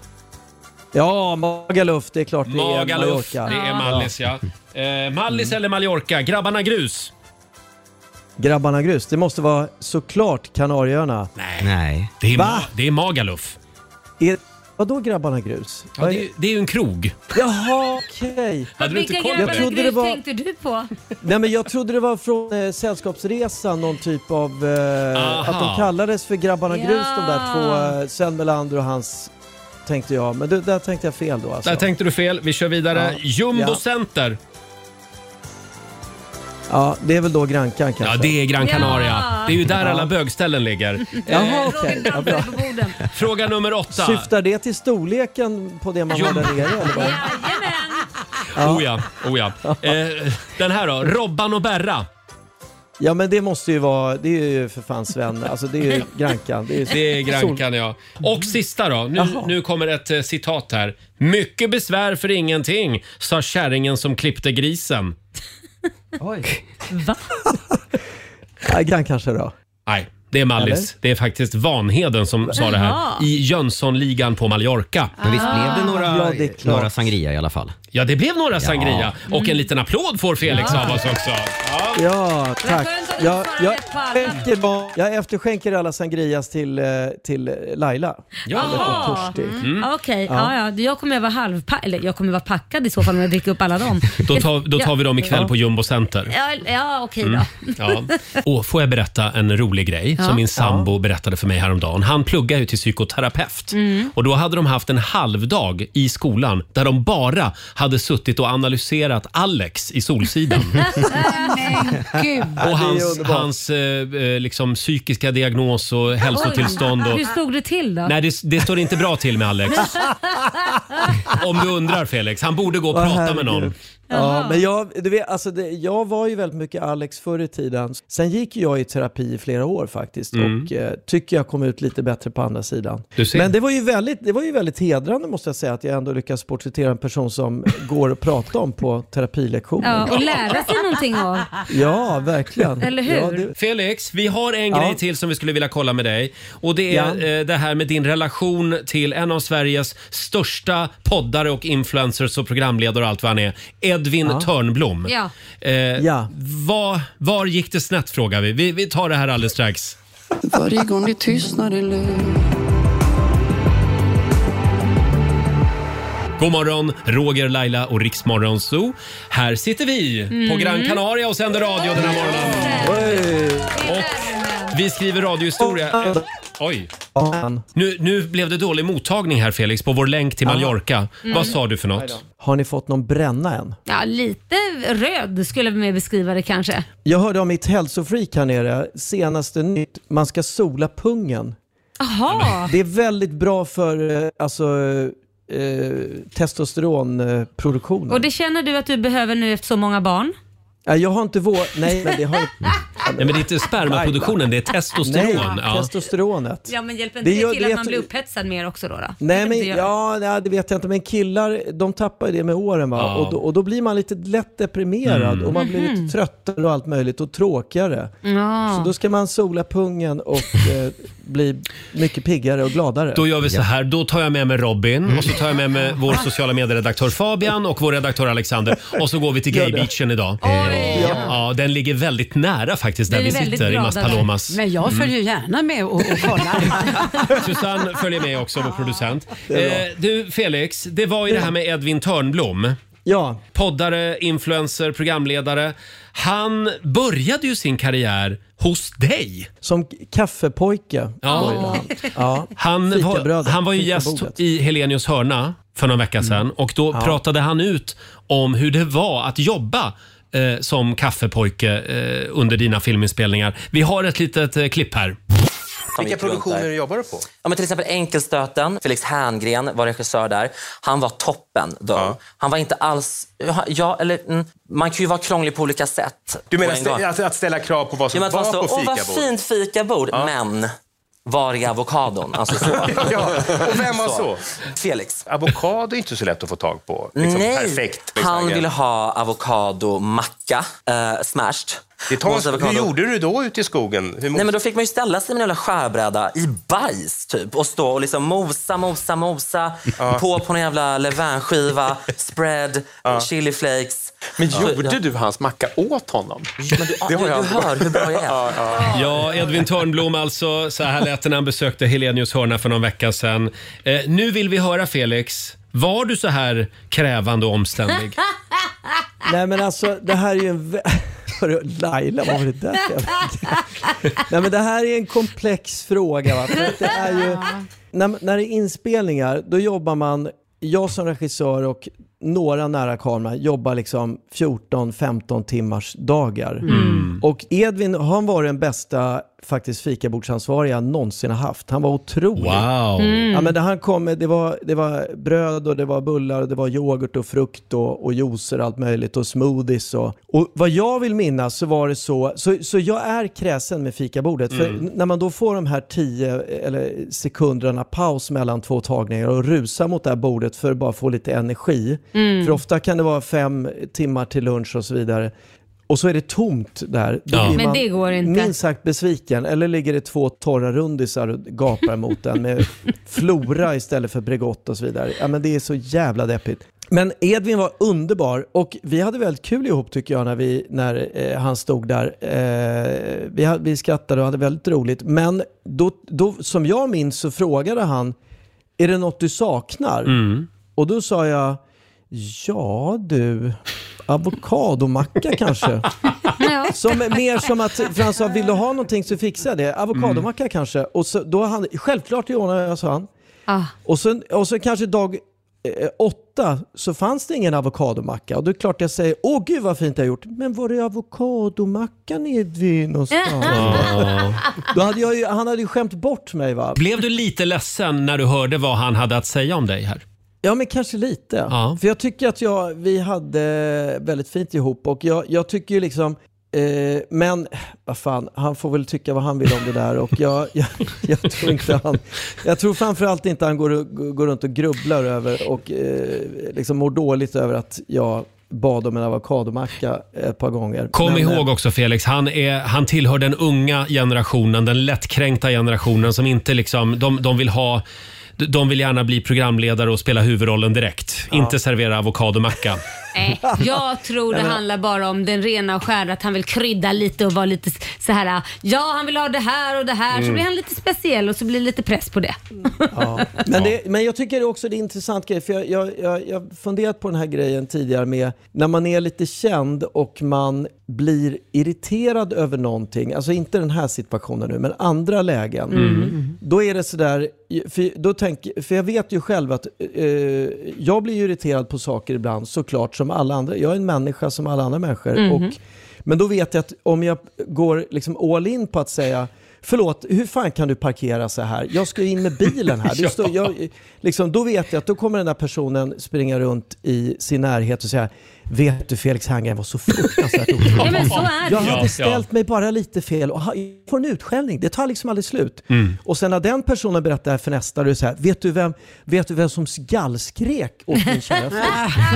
Ja, Magaluf, det är klart det är Magaluf. Det Mallorca. Mm. är Mallis, ja. Eh, Mallis eller Mallorca? Grabbarna Grus. Grabbarna Grus, det måste vara såklart Kanarieöarna. Nej. Det är, Va? ma- det är Magaluf. Är, vadå Grabbarna Grus? Ja, det, är, det är ju en krog. Jaha, okej. Hade du inte Vilka koll på grabbar det? och grus tänkte du på? Nej men jag trodde det var från eh, Sällskapsresan, någon typ av... Eh, Aha. att de kallades för Grabbarna Grus de där Ja. två, eh, Sven Melander och hans, tänkte jag. Men det, där tänkte jag fel då alltså. Där tänkte du fel. Vi kör vidare. Ja. Jumbo Ja. Center. Ja, det är väl då Grankan kanske? Ja, det är Gran Canaria. Det är ju där alla bögställen ligger. Jaha, Eh, okej. Ja, bra. Fråga nummer åtta. Syftar det till storleken på det man har där nere eller vad? Oh ja, oh ja. Eh, den här då, Robban och Berra. Ja men det måste ju vara, det är ju för fan Sven, alltså det är ju Grankan. Det är, ju- Det är Sol- Grankan ja. Och sista då, nu, nu kommer ett eh, citat här. Mycket besvär för ingenting, sa kärringen som klippte grisen. Va? Ja, Grankan kanske då. Nej, det är Mallis. Eller? Det är faktiskt Vanheden som sa det Jaha. här. I Jönssonligan på Mallorca. Men visst blev Ah. det några, Ja, det är klart. några sangria i alla fall? Ja, det blev några sangria. Mm. Och en liten applåd får Felix Ja. av oss också. Ja, tack. Jag, jag, på alla. skänker, ba- jag efterskänker alla sangrias till, eh, till Laila. Eller Jaha. till Torstig. Mm. Okej, Ja. ja. Ja, jag kommer vara halvpa- eller jag kommer vara packad i så fall om jag dricker upp alla dem. Då tar, då tar vi dem ikväll Ja. på Jumbo Center. Ja, ja okej Mm. då. Ja. Och får jag berätta en rolig grej Ja. som min sambo berättade för mig häromdagen. Han pluggar ju till psykoterapeut Mm. och då hade de haft en halvdag i skolan där de bara hade suttit och analyserat Alex i Solsidan. Men gud. Och hans, hans eh, eh, liksom, psykiska diagnos och hälsotillstånd. Och... Hur stod det till då? Nej, det, det står inte bra till med Alex. Om du undrar Felix. Han borde gå och Åh, prata med herregud. någon. Ja, men jag, du vet, alltså det, jag var ju väldigt mycket Alex förr i tiden. Sen gick jag i terapi i flera år faktiskt Mm. och eh, tycker jag kom ut lite bättre på andra sidan. Du ser. Men det var, ju väldigt, det var ju väldigt hedrande måste jag säga att jag ändå lyckas porträttera en person som går att prata om på terapilektioner. Ja, och lära sig någonting av. Ja, verkligen. Eller hur? Ja, det, Felix, vi har en Ja. grej till som vi skulle vilja kolla med dig. Och det är eh, det här med din relation till en av Sveriges största poddare och influencers och programledare och allt vad han är. Edvin Ja. Törnblom. Ja. Eh, var, var gick det snett frågar vi. vi. Vi tar det här alldeles strax. Varje gång det tystnar eller... God morgon, Roger, Laila och Riksmorgon Zoo. Här sitter vi på Mm. Gran Canaria och sänder radio den här morgonen. Och vi skriver radiohistoria. Eh, Oj. Nu, nu blev det dålig mottagning här Felix på vår länk till Mallorca. Mm. Vad sa du för Aj då. något? Har ni fått någon bränna än? Ja, lite röd skulle vi mer beskriva det kanske. Jag hörde om mitt hälsofreak här nere, senaste nytt, man ska sola pungen. Jaha. Det är väldigt bra för eh, alltså, eh, testosteronproduktionen. Och det känner du att du behöver nu efter så många barn? Nej, Jag har inte vår... Nej, men det har Nej men det är inte spermaproduktionen, det är testosteron. Nej, ja. testosteronet. Ja, men hjälper Det inte det, gör- till det att man heter- blir upphetsad mer också då? då? Nej, men Det gör- ja, nej, det vet jag inte. Men killar, de tappar ju det med åren va? Ja. Och, då, och då blir man lite lätt deprimerad Mm. och man blir Mhm. lite tröttare och allt möjligt och tråkigare. Ja. Så då ska man sola pungen och eh, bli mycket piggare och gladare. Då gör vi så här, då tar jag med mig Robin Mm. och så tar jag med mig vår sociala medieredaktör Fabian och vår redaktör Alexander och så går vi till Gör det. Gaybeachen idag. Ja. ja, den ligger väldigt nära faktiskt där vi, är väldigt sitter i glada Mas där. Palomas. Men jag Mm. följer gärna med och, och kollar. Susanne följer med också, vår producent. Det är Eh, du Felix, det var ju det här med Edvin Törnblom. Ja. Poddare, influencer, programledare. Han började ju sin karriär hos dig. Som kaffepojke Ja. började han. Ja. Han var, Fikabrödet, han var ju gäst fikabordet. Mm. i Helenius hörna för någon vecka sedan och då Ja. pratade han ut om hur det var att jobba eh, som kaffepojke eh, under dina filminspelningar. Vi har ett litet eh, klipp här. Vilka produktioner jobbar du på? Ja, men till exempel Enkelstöten. Felix Herngren var regissör där. Han var toppen då. Han var inte alls... Ja, eller, mm, man kan ju vara krånglig på olika sätt. Du menar på en stä- gång. alltså att ställa krav på vad Ja, som men att man var står, på Åh, vad fikabord? fint fikabord, men var är avokadon? Alltså så. ja. Och vem var så? Felix. Avokado är inte så lätt att få tag på. Liksom, Nej, Perfekt. han ville ha avokadomacka, eh, smashed. Det tar- Mos avokado. Hur gjorde du då ute i skogen? Hur Nej, men då fick man ju ställa sig med en jävla skärbräda i bajs typ och stå och liksom mosa, mosa, mosa. Ja. På på någon jävla levainskiva, spread, chili flakes. Men Ja. gjorde du hans macka åt honom? du- du hör hur bra jag är. Ja, ja. Ja, Edvin Törnblom alltså. Så här lät det när han besökte Helenius hörna för någon vecka sedan. Eh, nu vill vi höra Felix. Var du så här krävande och omständig? Nej men alltså det här är ju en... vä- Hörru, Laila, vad var det där för Nej men det här är en komplex fråga. Va? För att det är ju, när, när det är inspelningar, då jobbar man, jag som regissör och några nära kameran jobbar liksom 14-15 timmars dagar. Mm. Och Edvin, han var den bästa faktiskt fikabordsansvariga jag någonsin har haft. Han var otrolig. Wow. Mm. Ja, men det han kom med, det var, det var bröd och det var bullar och det var yoghurt och frukt och, och juicer och allt möjligt och smoothies. Och, och vad jag vill minnas så var det så, så, så jag är kräsen med fikabordet. För Mm. n- när man då får de här 10 eller sekunderna paus mellan två tagningar och rusar mot det här bordet för att bara få lite energi. Mm. För ofta kan det vara fem timmar till lunch och så vidare. Och så är det tomt där. Då Ja. blir Men man det går inte. minst sagt besviken. Eller ligger det två torra rundisar och gapar mot den med flora istället för Bregott och så vidare. Ja, men det är så jävla deppigt. Men Edvin var underbar och vi hade väldigt kul ihop tycker jag när, vi, när eh, han stod där. Eh, vi, hade- vi skrattade och hade väldigt roligt. Men då, då, som jag minns så frågade han, är det något du saknar? Mm. Och då sa jag, ja du, avokadomacka kanske? Som, mer som att, för han sa, vill du ha någonting så fixar jag det. Avokadomacka kanske. Och så, då han, självklart ordnar jag, sa han. Ah. Och sen, och sen kanske dag eh, åtta så fanns det ingen avokadomacka. Och då är det klart jag säger, åh gud vad fint jag har gjort. Men var är avokadomackan Edvin någonstans? Ja. Då hade jag ju, han hade ju skämt bort mig va? Blev du lite ledsen när du hörde vad han hade att säga om dig här? Ja, men kanske lite. Ja. För jag tycker att jag, vi hade väldigt fint ihop och jag, jag tycker ju liksom Eh, men vad fan, han får väl tycka vad han vill om det där och jag, jag, jag tror inte han... Jag tror framförallt inte han går, går runt och grubblar över och eh, liksom mår dåligt över att jag bad om en avokadomacka ett par gånger. Kom Men, eh, ihåg också Felix, han, är, han tillhör den unga generationen, den lättkränkta generationen som inte liksom, de, de vill ha de vill gärna bli programledare och spela huvudrollen direkt. Inte servera avokadomacka. Nej, jag tror det Nej, men- handlar bara om den rena och skära, att han vill krydda lite och vara lite så här. ah, ja han vill ha det här och det här, så Mm. blir han lite speciell och så blir det lite press på det. Men, det, men jag tycker också det är en intressant grej, för jag har jag, jag, jag har funderat på den här grejen tidigare med när man är lite känd och man blir irriterad över någonting, alltså inte den här situationen nu, men andra lägen. Mm. Då är det sådär, för, då tänk, för jag vet ju själv att eh, jag blir ju irriterad på saker ibland såklart som alla andra. Jag är en människa som alla andra människor. Mhm. Och men då vet jag att om jag går liksom all in på att säga Förlåt, hur fan kan du parkera så här? Jag ska ju in med bilen här. Det står, jag, liksom, då vet jag att då kommer den där personen springa runt i sin närhet och säga Vet du Felix Herngren var så fruktansvärt otrevlig. Ja, men så är det Jag ju. Ja, hade ja. ställt mig bara lite fel och ha- jag får en utskällning. Det tar liksom aldrig slut. Och sen när den personen berättar det här för nästa, då är det så här, vet du vem, vet du vem som gallskrek åt min kära fru?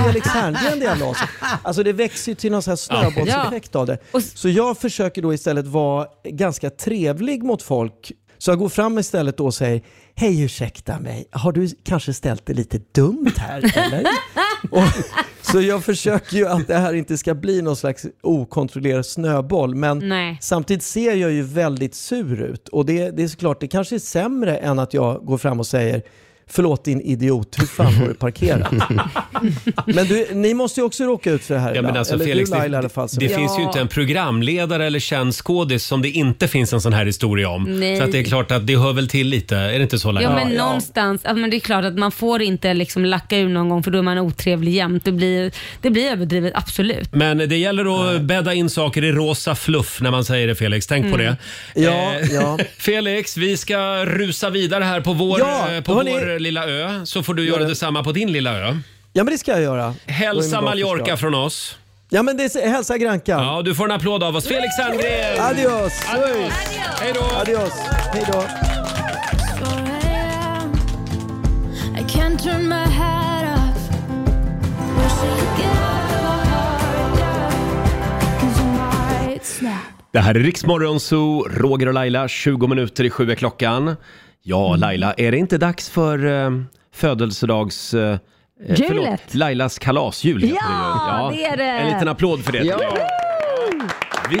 Felix Herngren det jävla aset." Alltså det växer ju till någon sån här snöbollseffekt av det. Så jag försöker då istället vara ganska trevlig mot folk. Så jag går fram istället då och säger, hej ursäkta mig, har du kanske ställt det lite dumt här eller? och, så jag försöker ju att det här inte ska bli någon slags okontrollerad snöboll. Men Nej. samtidigt ser jag ju väldigt sur ut. Och det, det är såklart, det kanske är sämre än att jag går fram och säger förlåt din idiot, hur fan har du parkerat? men du, ni måste ju också råka ut för det här Ja, men ibland. alltså, Eller Felix, du Laila i det, alla fall. som- det finns ju inte en programledare eller känd skådis som det inte finns en sån här historia om. Nej. Så att det är klart att det hör väl till lite, är det inte så Laila? Ja, men någonstans, ja, men det är klart att man får inte liksom lacka ur någon gång för då är man otrevlig jämt. Det blir, det blir överdrivet, absolut. Men det gäller att bädda in saker i rosa fluff när man säger det Felix. Tänk på det. Eh, Mm. Ja, ja. Felix, vi ska rusa vidare här på vår, Ja, eh, på hörni. vår lilla ö. Så får du göra detsamma på din lilla ö. Ja men det ska jag göra. Det är Hälsa en bra Mallorca förslag. från oss. Ja men det är, hälsa Granka. Ja, du får en applåd av oss. Felix Herngren! Adios! Adios! Hej då! Adios! Hej då! 4 a.m. I can't turn my head off. Wish I could get out of my heart, yeah. 'Cause I might snap. Det här är Riksmorgon Zoo, Roger och Laila, 20 minuter i sju är klockan. Ja, Mm. Laila, är det inte dags för eh, födelsedags... Eh, eh, Julet. förlåt, Lailas kalasjul heter Ja, ju. det är det. En liten applåd för det. tycker jag. Vi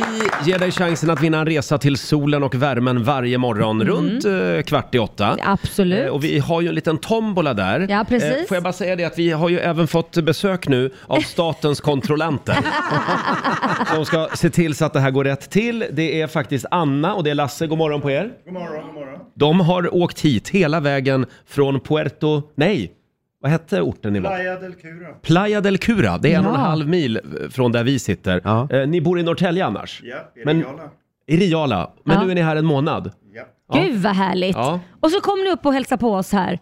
ger dig chansen att vinna en resa till solen och värmen varje morgon Mm. runt eh, kvart i åtta. Absolut. Eh, Och vi har ju en liten tombola där. Eh, Ja, precis. får jag bara säga det att vi har ju även fått besök nu av statens kontrollanter. som ska se till så att det här går rätt till. Det är faktiskt Anna och det är Lasse. God morgon på er. God morgon, god morgon. De har åkt hit hela vägen från Puerto... Nej! Vad hette orten ni var? Playa del Cura. Playa del Cura. Det är en och en Ja. halv mil från där vi sitter. Eh, ni bor i Norrtälje annars? Ja, i Men- Riala. I Riala. Men Ja. nu är ni här en månad. Ja. Gud vad härligt. Ja. Och så kom ni upp och hälsade på oss här.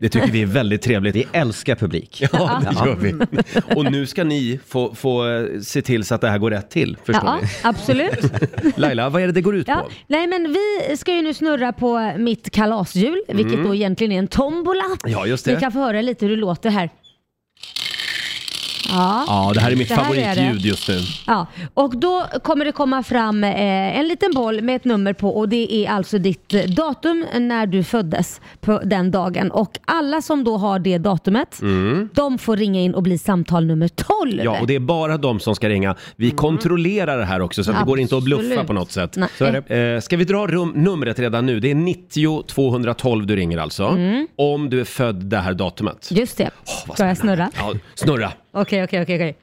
Det tycker vi är väldigt trevligt. Vi älskar publik. Ja, det Ja. gör vi. Och nu ska ni få, få eh, se till så att det här går rätt till, förstår Ja, ni? absolut. Laila, vad är det det går ut Ja, på? nej men vi ska ju nu snurra på mitt kalashjul, vilket Mm. då egentligen är en tombola. Ja, just det. Vi kan få höra lite hur det låter här. Ja, Ja, det här är mitt här är det. favoritljud just nu. Ja, och då kommer det komma fram eh, en liten boll med ett nummer på och det är alltså ditt eh, datum när du föddes på den dagen. Och alla som då har det datumet, Mm. de får ringa in och bli samtal nummer 12. Ja, och det är bara de som ska ringa. Vi kontrollerar det här också så att det går inte att bluffa Mm. Absolut. på något sätt. Nej. Så är Eh, ska vi dra rum- numret redan nu? Det är 90 212 du ringer alltså. Mm. Om du är född det här datumet. Just det. Ska jag snurra? Ja, snurra. Okej, okej, okej. okej.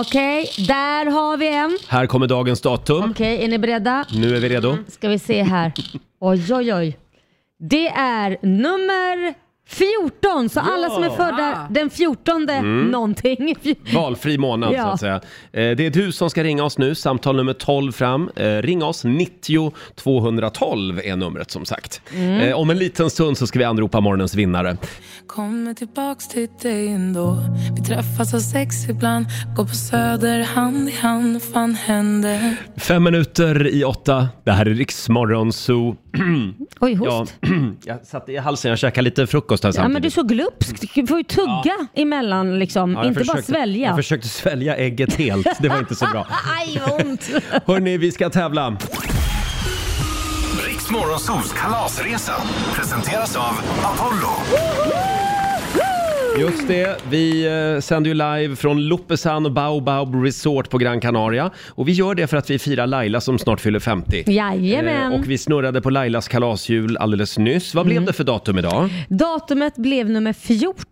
Okej, där har vi en. Här kommer dagens datum. Okej, är ni beredda? Nu är vi redo. Ska vi se här. Oj, oj, oj. Det är nummer 14, så alla som är födda den 14 Mm. någonting. Valfri månad så Ja. att säga. Eh, Det är du som ska ringa oss nu, samtal nummer 12 fram. Eh, Ring oss, 90 212 är numret som sagt. Mm. Eh, Om en liten stund så ska vi anropa morgonens vinnare. Kommer tillbaks till dig ändå Vi träffas av sex ibland Går på söder hand i hand Fan händer Fem minuter i åtta, det här är Riksmorgon Zoo. Oj, ja, host. jag satt i halsen, jag käkade lite frukost här Ja, men samtidigt. du är så glupsk. Du får ju tugga emellan liksom. Ja, jag Inte bara försökte- svälja. Jag försökte svälja ägget helt, det var inte så bra. Aj, vad ont. Hörni, vi ska tävla. Riks Morgonzoos kalasresa presenteras av Apollo. Just det, vi eh, sänder ju live från Loppesan Baobab Resort på Gran Canaria. Och vi gör det för att vi firar Laila som snart fyller 50. Jajamän. Mm. Eh, Och vi snurrade på Lailas kalashjul alldeles nyss. Vad blev det för datum idag? Datumet blev nummer 14.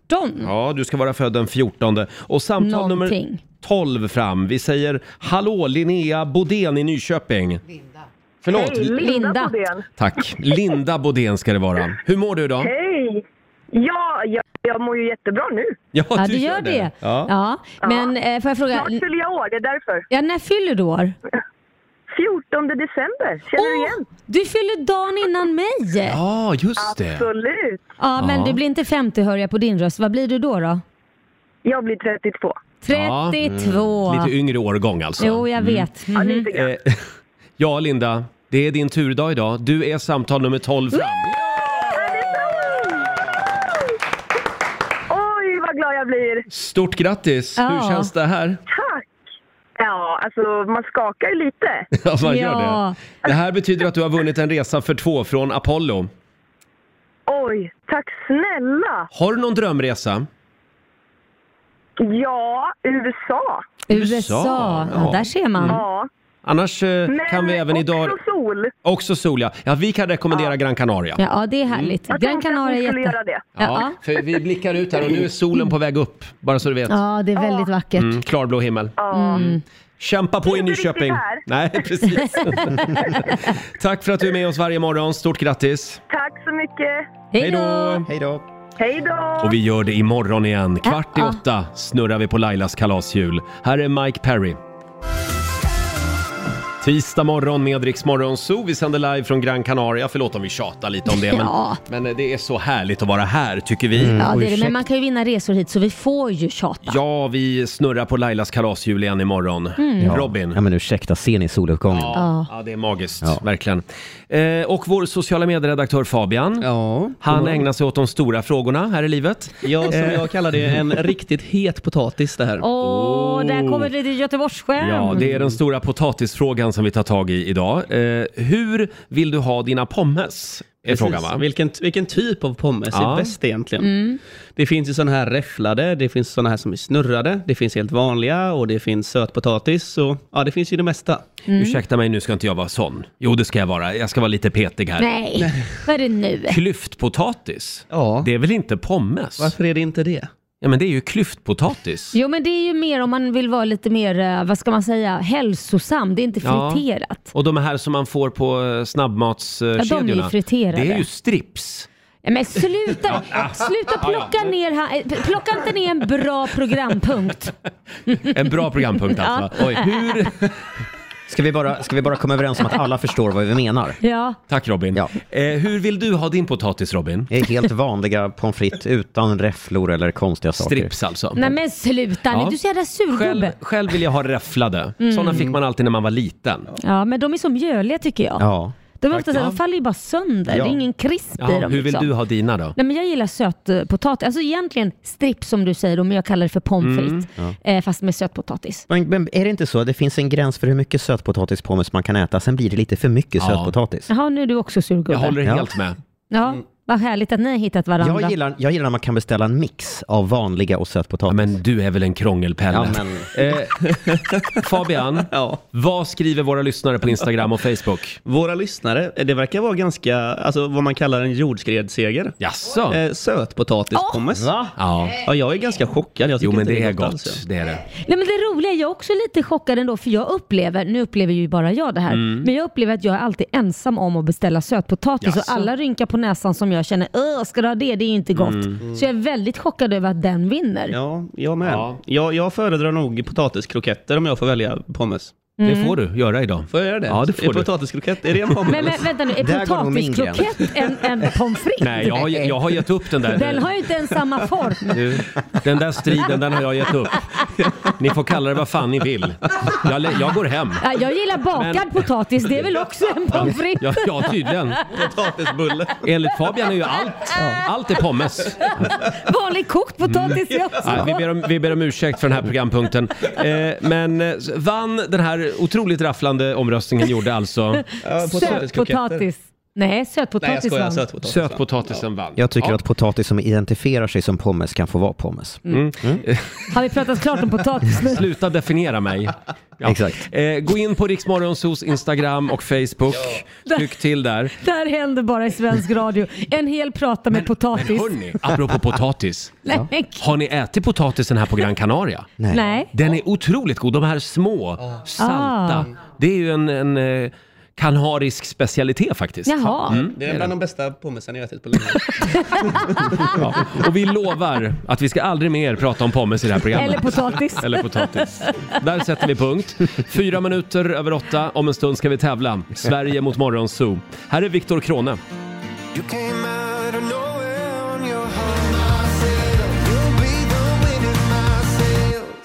Ja, du ska vara född den 14. Och samtal nummer Någonting. 12 fram. Vi säger hallå Linnea Bodén i Nyköping. Linda. Förlåt. Hej, Li- Linda. Tack. Linda Bodén ska det vara. Hur mår du idag? Hej! Ja, jag, jag mår ju jättebra nu. Ja, Ja, du du gör gör det. det. Ja. Ja. Men eh, får jag fråga... Snart fyller jag år, det är därför. Ja, när fyller du år? 14 december, känner du igen? Du fyller dagen innan mig! Ja, Ah, just Absolut! Ja, men Ja. du blir inte 50 hör jag på din röst. Vad blir du då? då? Jag blir 32. 32. Ja, mm. Lite yngre årgång alltså. Jo, jag vet. Mhm. Mm. Eh, ja, Linda. Det är din turdag idag. Du är samtal nummer 12 fram. Oj, vad glad jag blir! Stort grattis! Ja. Hur känns det här? Tack! Ja, alltså man skakar ju lite. Ja, man gör det. Det här betyder att du har vunnit en resa för två från Apollo. Oj, tack snälla! Har du någon drömresa? Ja, USA. USA. Ja, där ser man. Ja. Annars eh, Men kan vi även också idag... sol. Också sol, ja. ja vi kan rekommendera Gran Canaria. Ja, det är härligt. Jag Gran tänkte att Canaria vi är skulle jätte... göra det. Ja. Mm. Ja, för vi blickar ut här och nu är solen på väg upp, bara så du vet. ja, det är väldigt vackert. Mm, klarblå himmel. Mm. Kämpa på i Inte riktigt Nyköping. här. Nej, precis. Tack för att du är med oss varje morgon. Stort grattis! Tack så mycket. Hej då! Hej då! Hej då! Och vi gör det imorgon igen. Kvart i Ja. åtta snurrar vi på Lailas kalashjul. Här är Mike Perry. Tisdag morgon med Rix Morgon Zoo. Vi sänder live från Gran Canaria. Förlåt om vi tjatar lite om det, Ja. Mm. men, men det är så härligt att vara här tycker vi. Ja, det är det. Men man kan ju vinna resor hit så vi får ju tjata. Ja, vi snurrar på Lailas kalashjul igen imorgon. Mm. Ja. Robin. Ja, men ursäkta, ser ni soluppgången? Ja, ja, det är magiskt, verkligen. Eh, och vår sociala medieredaktör Fabian, han morgon. ägnar sig åt de stora frågorna här i livet. Ja, som Eh, jag kallar det, en riktigt het potatis det här. Åh, där kommer det lite Göteborgsskämt. Oh. Ja, det är den stora potatisfrågan som vi tar tag i idag. Eh, hur vill du ha dina pommes? Är Precis. frågan va? Vilken, vilken typ av pommes Ja. är bäst egentligen? Mm. Det finns ju sådana här räfflade, det finns sådana här som är snurrade, det finns helt vanliga och det finns sötpotatis. Så, ja, det finns ju det mesta. Mm. Ursäkta mig, nu ska inte jag vara sån. Jo, det ska jag vara. Jag ska vara lite petig här. Nej, vad är det nu? Klyftpotatis? Det är väl inte pommes? Varför är det inte det? Ja, men det är ju klyftpotatis. Jo men det är ju mer om man vill vara lite mer, eh, vad ska man säga, hälsosam. Det är inte Ja. friterat. Och de här som man får på eh, Ja, de är ju snabbmatskedjorna. friterade. Det är ju strips. Ja, Men sluta, Ja. sluta plocka ner, här- eh, plocka inte ner en bra programpunkt. En bra programpunkt alltså. Ja. Oj. Hur... Ska vi, bara, ska vi bara komma överens om att alla förstår vad vi menar? Ja. Tack Robin. Ja. Eh, hur vill du ha din potatis Robin? Det är helt vanliga pommes frites utan räfflor eller konstiga saker. Strips alltså. Nej men sluta Ja. nu, du är så jävla Själv, surgubbe. själv vill jag ha räfflade. Mm. Sådana fick man alltid när man var liten. Ja men de är så mjöliga tycker jag. De är ofta så här, de faller ju bara sönder. Ja. Det är ingen krisp Jaha, i dem. hur vill liksom. du ha dina då? Nej men jag gillar sötpotatis. Alltså egentligen strips som du säger, då, men jag kallar det för pommes Mm, frites. Ja. Eh, fast med sötpotatis. Men, men är det inte så att det finns en gräns för hur mycket sötpotatis pommes man kan äta, sen blir det lite för mycket Ja. sötpotatis? Jaha, nu är du också surgubbe. med. Ja, vad härligt att ni har hittat varandra. Jag gillar, jag gillar när man kan beställa en mix av vanliga och sötpotatis. men du är väl en krångelpelle? Ja, men... Eh, Fabian, vad skriver våra lyssnare på Instagram och Facebook? Våra lyssnare, eh, det verkar vara ganska, alltså vad man kallar en jordskredsseger. Jaså? Eh, Sötpotatispommes. Va? Ja. jag är ganska chockad. Jag tycker Jo, men inte det är gott. gott. alls, ja. Det är det. Nej men det roliga, jag är också lite chockad ändå för jag upplever, nu upplever ju bara jag det här, Mm. men jag upplever att jag är alltid ensam om att beställa sötpotatis Jaså? och alla rynkar på näsan som jag känner, öh ska du ha det? Det är ju inte gott. Mm. Så jag är väldigt chockad över att den vinner. Ja, jag med. Jag, jag föredrar nog potatiskroketter om jag får välja pommes. Mm. Det får du göra idag. Får jag göra det? Ja, det får är du. potatiskrokett, är det en pommes? Men, men vänta nu, är Där går nog min potatiskrokett en, en pommes frites? Nej, jag har, jag har gett upp den där. Den har ju inte ens samma form. Du, den där striden, den har jag gett upp. Ni får kalla det vad fan ni vill. Jag, lä- jag går hem. Ja, Jag gillar bakad potatis, det är väl också en pommes frites? Ja, ja, tydligen. Potatisbulle. Enligt Fabian är ju allt, allt är pommes. Vanlig kokt potatis är också Mm. Ja, vi, gott. ber om, vi ber om ursäkt för den här programpunkten. Eh, men eh, vann den här otroligt rafflande omröstningen gjorde alltså... Sötpotatis. Nej, sötpotatis vann. Sötpotatisen vann. Jag tycker Ja. att potatis som identifierar sig som pommes kan få vara pommes. Mm. Har vi pratat klart om potatis nu? Sluta definiera mig. Ja. Exakt. Eh, gå in på Riksmorgonsos Instagram och Facebook. Tryck till där. Det här händer bara i svensk radio. En hel prata med potatis. Men hörni, apropå potatis. Nej, men Har ni ätit potatisen här på Gran Canaria? Nej. Nej. Den är otroligt god. De här små, salta. Ah. Det är ju en, en eh, kanarisk specialitet faktiskt. Mm, Det det är är bland det. de bästa pommesen jag ätit på länge. Ja. Och vi lovar att vi ska aldrig mer prata om pommes i det här programmet. Eller potatis. Eller potatis. Där sätter vi punkt. Fyra minuter över åtta. Om en stund ska vi tävla. Sverige mot Morgonzoo. Här är Viktor Krone.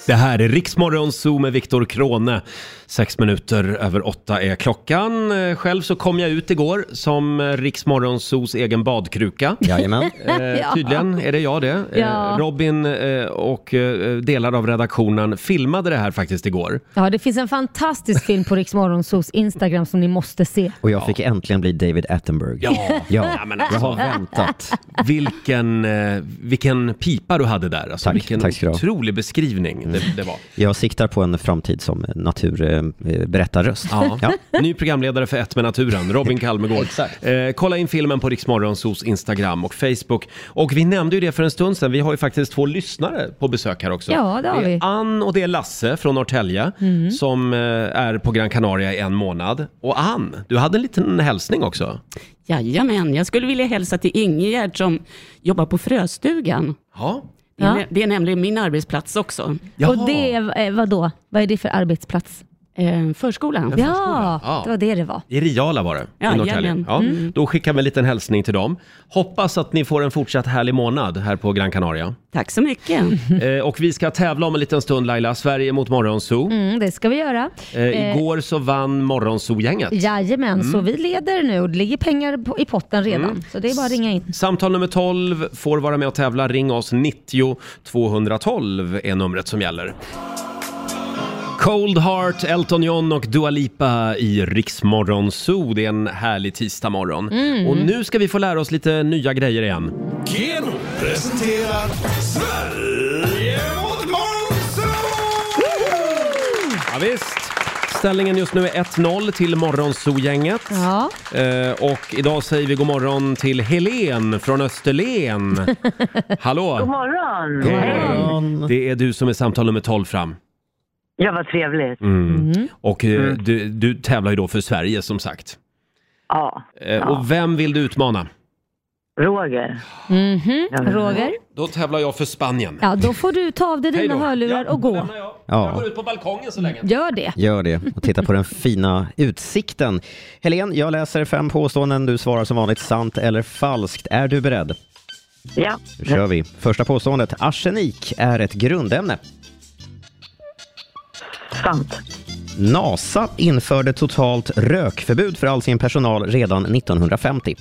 Det här är Riksmorgon Zoo med Viktor Krone. Sex minuter över åtta är klockan. Eh, Själv så kom jag ut igår som eh, Riksmorgon Zoos egen badkruka. Jajamän. Eh, tydligen är det jag det. Eh, Ja. Robin eh, och eh, delar av redaktionen filmade det här faktiskt igår. Ja, det finns en fantastisk film på Rix Morgonzoos Instagram som ni måste se. Och jag fick äntligen bli David Attenborough. Ja. ja. Ja, men alltså. jag har väntat. Vilken, eh, vilken pipa du hade där. Alltså, Tack, vilken tack ska du ha. otrolig beskrivning det, det var. Jag siktar på en framtid som natur, eh, berättarröst. Ja. Ja. Ny programledare för Ett med naturen, Robin Kalmegård. eh, kolla in filmen på Riksmorgonsos Instagram och Facebook. Och vi nämnde ju det för en stund sedan, vi har ju faktiskt två lyssnare på besök här också. Ja, det har är vi. Ann och det är Lasse från Norrtälje Mm. som eh, är på Gran Canaria i en månad. Och Ann, du hade en liten hälsning också. Jajamän, jag skulle vilja hälsa till Ingegerd som jobbar på Fröstugan. Ja. Det, är, Ja. nä- det är nämligen min arbetsplats också. Och det är eh, vadå? Vad är det för arbetsplats? Eh, förskolan. Ja, förskolan. Ja. det var det det var. I Riala var det, Ja, i Norrtälje. jajamän. Ja, Mm. Då skickar vi en liten hälsning till dem. Hoppas att ni får en fortsatt härlig månad här på Gran Canaria. Tack så mycket. Eh, och vi ska tävla om en liten stund Laila, Sverige mot Morgonzoo. Mm, det ska vi göra. Eh, igår så vann Morgonzoo-gänget. Jajamän, Mm. så vi leder nu och det ligger pengar på, i potten redan. Mm. Så det är bara att ringa in. Samtal nummer 12 får vara med och tävla. Ring oss 90 212 är numret som gäller. Cold Heart, Elton John och Dua Lipa i Riksmorgon Zoo. Det är en härlig tisdagmorgon. Mm. Och nu ska vi få lära oss lite nya grejer igen. Keno presenterar Sverige mot Morgonzoo! Ja, visst. Ställningen just nu är 1-0 till Morgonzoo-gänget. Ja. Eh, och idag säger vi god morgon till Helen från Österlen. Hallå! God morgon! Mm. Hej. Det är du som är samtal nummer 12 fram. Ja, vad trevligt. Mm. Mm. Och eh, Mm. du, du tävlar ju då för Sverige som sagt. Ja. Eh, Och vem vill du utmana? Roger. Mhm, Roger? Då tävlar jag för Spanien. Ja, då får du ta av dig Hej då. dina hörlurar och gå. Ja. ut på balkongen så länge. Gör det. Gör det och titta på den fina utsikten. Helen, jag läser fem påståenden. Du svarar som vanligt sant eller falskt. Är du beredd? Ja. Då kör vi. Första påståendet. Arsenik är ett grundämne. Sant. NASA införde totalt rökförbud för all sin personal redan 1950.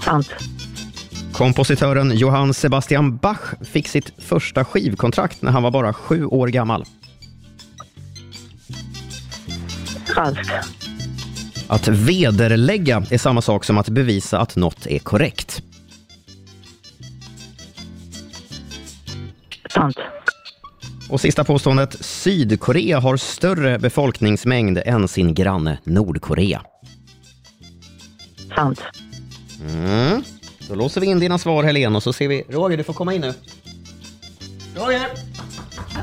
Sant. Kompositören Johann Sebastian Bach fick sitt första skivkontrakt när han var bara sju år gammal. Falskt. Att vederlägga är samma sak som att bevisa att något är korrekt. Sant. Och sista påståendet. Sydkorea har större befolkningsmängd än sin granne Nordkorea. Sant. Mm. Då låser vi in dina svar, Helene, och så ser vi. Roger, du får komma in nu. Roger!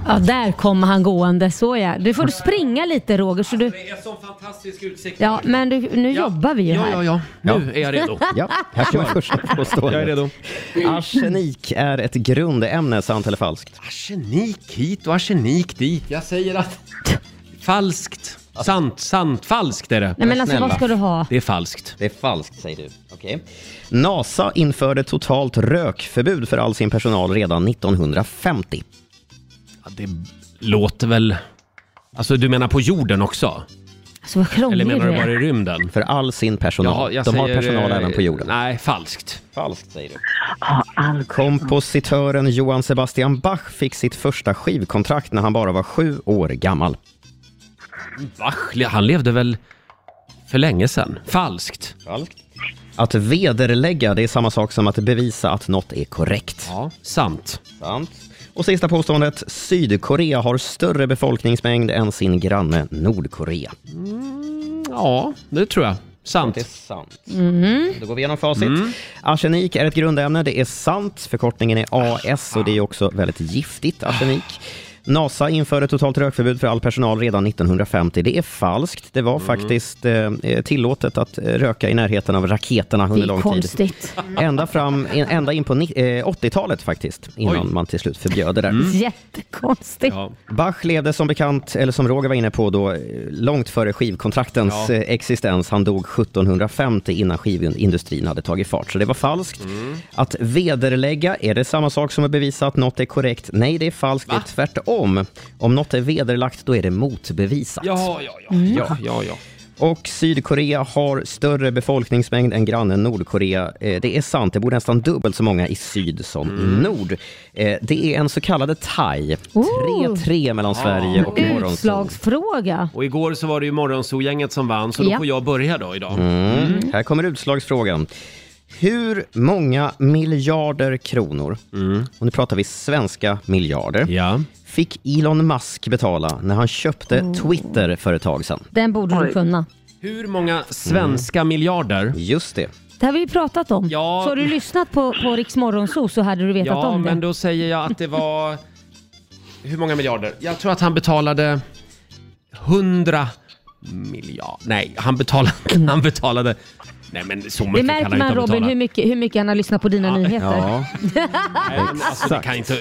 Ja, där kommer han gående. Så ja. Du får springa lite Roger. Så du... Det är sån fantastisk utsikt. Ja, men du, nu jobbar vi ju Ja, här. ja, ja. Nu är jag redo. Ja, här kommer första påståendet. Jag är redo. Arsenik är ett grundämne, sant eller falskt? Arsenik hit och arsenik dit. Jag säger att... Falskt. Sant, sant, falskt är det. Nej, men alltså, vad ska du ha? Det är falskt. Det är falskt, säger du. Okej. NASA införde totalt rökförbud för all sin personal redan 1950. Ja, det låter väl... Alltså du menar på jorden också? Så Alltså, vad krånglig Eller menar du är. bara i rymden? För all sin personal. De har personal även på jorden. eh, Nej, falskt. eh, Falskt säger du. Kompositören Johann Sebastian Bach fick sitt första skivkontrakt när han bara var sju år gammal. Bach, han levde väl för länge sedan? Falskt. Falskt. Att vederlägga, det är samma sak som att bevisa att något är korrekt. Ja, sant. Sant. Och sista påståendet. Sydkorea har större befolkningsmängd än sin granne Nordkorea. Ja, det tror jag. Sant. Det är sant. Mhm. Då går vi igenom facit. Mm. Arsenik är ett grundämne, det är sant. Förkortningen är AS Ah, och det är också väldigt giftigt, arsenik. NASA införde totalt rökförbud för all personal redan 1950. Det är falskt. Det var Mm. faktiskt eh, tillåtet att eh, röka i närheten av raketerna under är lång konstigt. tid. Ända, fram, in- ända in på ni- eh, 80-talet faktiskt, innan Oj. Mm. man till slut förbjöd det där. Jättekonstigt. Bach levde som bekant, eller som Roger var inne på då, eh, långt före skivkontraktens Ja. eh, existens. Han dog 1750 innan skivindustrin hade tagit fart, så det var falskt. Mm. Att vederlägga, är det samma sak som att bevisa att något är korrekt? Nej, det är falskt. Det är tvärtom. Om något är vederlagt, då är det motbevisat. Ja, ja, ja. Mm. ja, ja, ja. Och Sydkorea har större befolkningsmängd än grannen Nordkorea. Eh, Det är sant, det bor nästan dubbelt så många i syd som Mm. i nord. Eh, Det är en så kallad thai. 3-3 mellan Ah. Sverige och Morgonzoo. Utslagsfråga. Och igår så var det ju Morgonzoo-gänget som vann, så då Ja. får jag börja då idag. Mm. Här kommer Mm. utslagsfrågan. Hur många miljarder kronor, Mm. och nu pratar vi svenska miljarder, fick Elon Musk betala när han köpte Oh. Twitter för ett tag sedan? Den borde du kunna. Hur många svenska miljarder? Just det. Det har vi ju pratat om. Ja. Så har du lyssnat på, på Riks Morgonzoo så hade du vetat Ja, om det. men då säger jag att det var... Hur många miljarder? Jag tror att han betalade 100 miljarder. Nej, han betalade... Han betalade... Nej men så Det mycket kan märker han man inte ha Robin betalat. hur mycket, hur mycket han har lyssnat på dina nyheter. Ja. Nej, men alltså, det kan inte...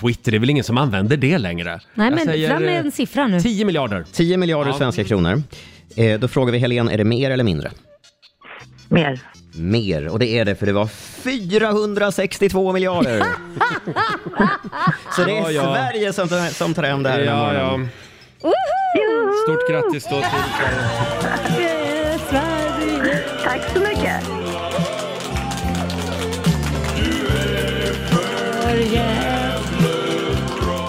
Twitter, det är väl ingen som använder det längre? Nej Jag men säger, fram med eh, en siffra nu. 10 miljarder. 10 miljarder Ja. svenska kronor. Eh, då frågar vi Helene, är det mer eller mindre? Mer. Mer, och det är det för det var 462 miljarder. Så det är Ja, ja. Sverige som tar, som tar hem det här den här Ja, ja. morgonen. Stort grattis då till... Tack så mycket.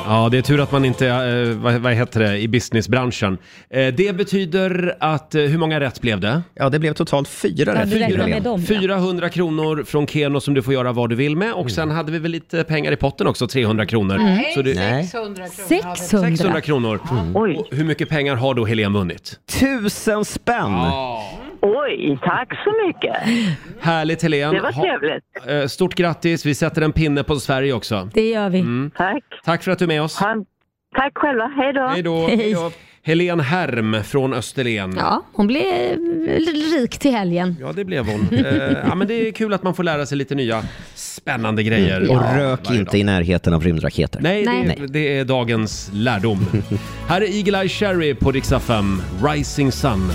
Ja, det är tur att man inte är, eh, vad, vad heter det, i businessbranschen. Eh, det betyder att, eh, hur många rätt blev det? Ja, det blev totalt fyra Ja, rätt. du räknar med dem, ja. 400 kronor från Keno som du får göra vad du vill med. Och sen hade vi väl lite pengar i potten också, 300 kronor. Nej, Så det- 600 kronor. har vi. 600 kronor. Och hur mycket pengar har då Helene vunnit? Tusen spänn! Oj, tack så mycket. Härligt Helene. Det var Ha- trevligt. eh, Stort grattis, vi sätter en pinne på Sverige också. Det gör vi. Mm. Tack. Tack för att du är med oss. Tack själva. Hej då. Hej då. Helene Herm från Österlen. Ja, hon blev eh, rik till helgen. Ja, det blev hon. Eh, ja, men det är kul att man får lära sig lite nya spännande grejer. Mm. Och rök varje inte i närheten av rymdraketer. Nej, Det, det är dagens lärdom. Här är Eagle-Eye Cherry på Rix FM, Rising Sun.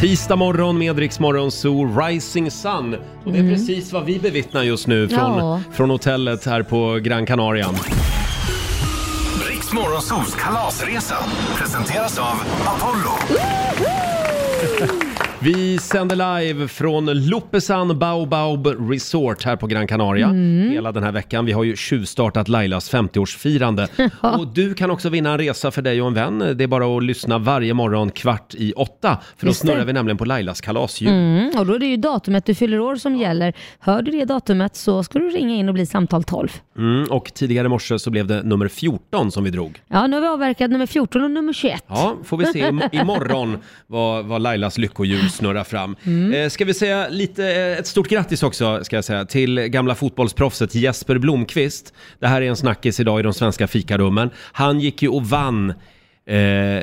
Tisdag morgon med Rix Morgon Zoo, Rising Sun. Och det är precis vad vi bevittnar just nu från, Ja. från hotellet här på Gran Canaria. Riks Morgonzoos kalasresa presenteras av Apollo. Vi sänder live från Lopesan Baobab Resort här på Gran Canaria Mm. hela den här veckan. Vi har ju tjuvstartat Lailas 50-årsfirande. Och du kan också vinna en resa för dig och en vän. Det är bara att lyssna varje morgon kvart i åtta. För då Just det. snurrar vi nämligen på Lailas kalasljud. Mm, och då är det ju datumet du fyller år som gäller. Hör du det datumet så ska du ringa in och bli samtal 12. Mm, och tidigare i morse så blev det nummer 14 som vi drog. Ja, nu har vi avverkat nummer 14 och nummer 21. Ja, får vi se im- imorgon vad, vad Lailas lyckohjul snurrar fram. Mm. Eh, ska vi säga lite, eh, ett stort grattis också ska jag säga till gamla fotbollsproffset Jesper Blomqvist. Det här är en snackis idag i de svenska fikarummen. Han gick ju och vann Eh,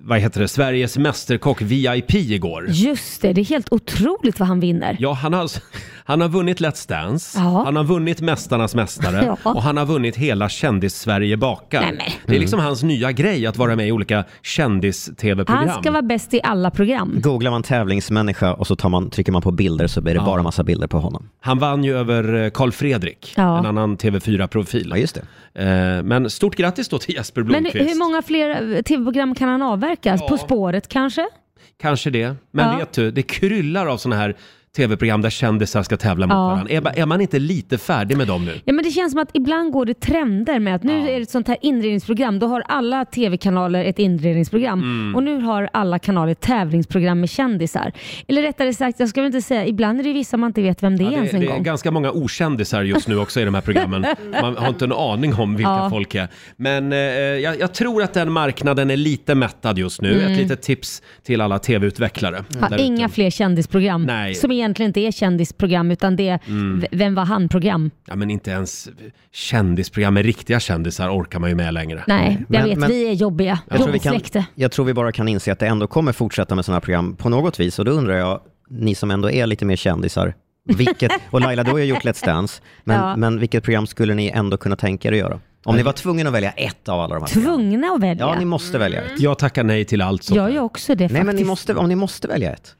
vad heter det? Sveriges Mästerkock VIP igår. Just det, det är helt otroligt vad han vinner. Ja, han har, alltså, han har vunnit Let's Dance, Ja. han har vunnit Mästarnas Mästare Ja. och han har vunnit hela Kändis-Sverige bakar. Nej, men. Det är liksom hans nya grej att vara med i olika kändis-tv-program. Han ska vara bäst i alla program. Googlar man tävlingsmänniska och så tar man, trycker man på bilder så blir det Ja. bara massa bilder på honom. Han vann ju över eh, Carl Fredrik, Ja. en annan TV4-profil. Ja, just det. Eh, Men stort grattis då till Jesper Men Blomqvist. hur många fler eh, tv-program kan han avverka? På spåret kanske? Kanske det. Men Ja. vet du, det kryllar av såna här tv-program där kändisar ska tävla mot Ja. varandra. Är, ba- är man inte lite färdig med dem nu? Ja, men det känns som att ibland går det trender med att nu är det ett sånt här inredningsprogram. Då har alla tv-kanaler ett inredningsprogram Mm. och nu har alla kanaler tävlingsprogram med kändisar. Eller rättare sagt, jag ska väl inte säga, ibland är det vissa man inte vet vem det är Ja, ens det, en det gång. är ganska många okändisar just nu också i de här programmen. Man har inte en aning om vilka Ja. folk är. Men eh, jag, jag tror att den marknaden är lite mättad just nu. Mm. Ett litet tips till alla tv-utvecklare. Ha där ute. inga fler kändisprogram Nej. som egentligen inte är kändisprogram utan det är Mm. v- Vem var han-program. Ja, men inte ens kändisprogram med riktiga kändisar orkar man ju med längre. Nej, jag Men- vet. men- vi är jobbiga. Jag tror, vi Jobbigt kan, släkte. jag tror vi bara kan inse att det ändå kommer fortsätta med sådana här program på något vis. Och då undrar jag, ni som ändå är lite mer kändisar, vilket, och Laila, du har ju gjort Let's Dance, men, Ja. men vilket program skulle ni ändå kunna tänka er att göra? Om ni var tvungna att välja ett av alla de här programmen. Tvungna att välja. Ja, ni måste välja ett. Jag tackar nej till allt sånt. Jag är också det Nej, faktiskt. men ni måste, om ni måste välja ett.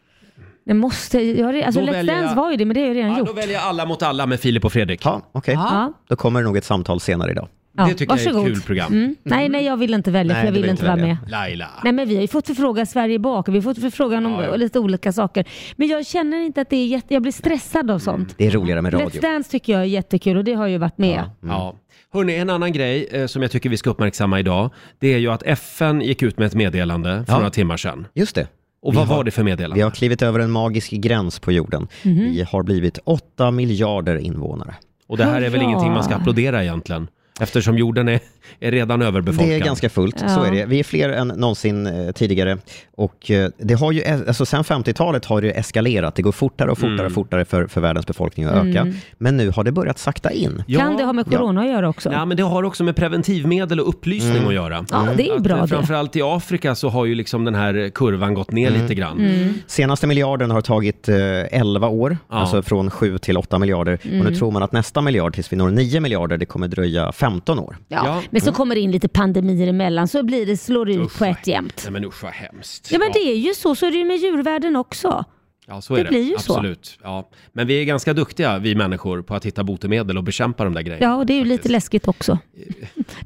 Jag måste, jag, har re- alltså Då Let's väljer jag- Dance var ju det, men det har jag redan Ja, gjort. då väljer jag alla mot alla med Filip och Fredrik. Ja, okej. Ja. Då kommer det nog ett samtal senare idag. Ja, Det tycker jag är ett varsågod. kul program. Mm. Nej, nej, jag vill inte välja för jag vill inte vara med. Laila. Nej, men vi har ju fått förfrågan Sverige bak, vi har fått förfrågan om lite olika saker. Men jag känner inte att det är jätte, jag blir stressad av sånt. Det är roligare med radio. Let's Dance tycker jag är jättekul och det har jag ju varit med. Ja. Hörrni, en annan grej eh, som jag tycker vi ska uppmärksamma idag, det är ju att FN gick ut med ett meddelande för Ja. några timmar sedan. Just det. Och vad var det för meddelande? Vi har klivit över en magisk gräns på jorden. Mhm. Vi har blivit 8 miljarder invånare. Och det här är väl ingenting man ska applådera egentligen? Eftersom jorden är, är redan överbefolkad. Det är ganska fullt, så är det. Vi är fler än någonsin eh, tidigare. Och eh, det har ju, alltså sen 50-talet har det ju eskalerat. Det går fortare och fortare och fortare för, för världens befolkning att öka. Mm. Men nu har det börjat sakta in. Kan det ha med corona att göra också? Ja, men det har också med preventivmedel och upplysning Mm. att göra. Ja, det är ju Att, eh, bra det. Framförallt i Afrika så har ju liksom den här kurvan gått ner lite grann. Mm. Senaste miljarden har tagit eh, 11 år, Ja. alltså från 7 till 8 miljarder. Och Mm. nu tror man att nästa miljard, tills vi når 9 miljarder, det kommer dröja 15 år. Ja. Men så kommer det in lite pandemier emellan så blir det, slår det ut på ett jämt. Mm. Nej men usch vad hemskt. Ja men det är ju så, så är det ju med djurvärlden också. Ja, så är det. det blir ju så. Absolut. Ja. Men vi är ganska duktiga, vi människor, på att hitta botemedel och bekämpa de där grejerna. Ja, och det är ju lite läskigt också.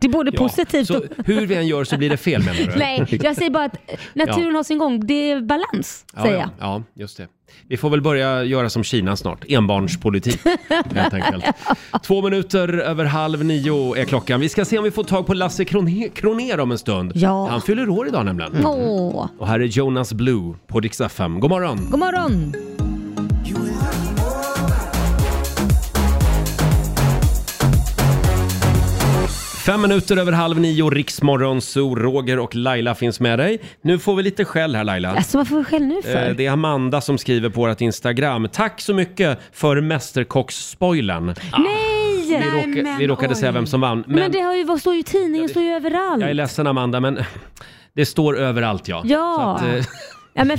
Det är både Ja, positivt Så och... hur vi än gör så blir det fel menar du? Nej, jag säger bara att naturen Ja. har sin gång. Det är balans, Ja, säger ja, jag. ja, just det. Vi får väl börja göra som Kina snart, enbarnspolitik helt enkelt. Två minuter över halv nio är klockan. Vi ska se om vi får tag på Lasse Kroné- Kronér om en stund. Ja. Mm. Han fyller år idag nämligen. Åh. Och här är Jonas Blue på Dix FM. God morgon! God morgon! Fem minuter över halv nio, Riksmorgon, Zoo, Roger och Laila finns med dig. Nu får vi lite skäll här Laila. Alltså vad får vi skäll nu för? Eh, Det är Amanda som skriver på vårt Instagram. Tack så mycket för Mästerkocks-spoilern. Nej! Vi, råka, vi råkade säga vem som vann. Men, Men det har ju, vad står ju i tidningen, står ju överallt. jag är ledsen Amanda, men det står överallt ja. Ja. Så att, eh, Ja men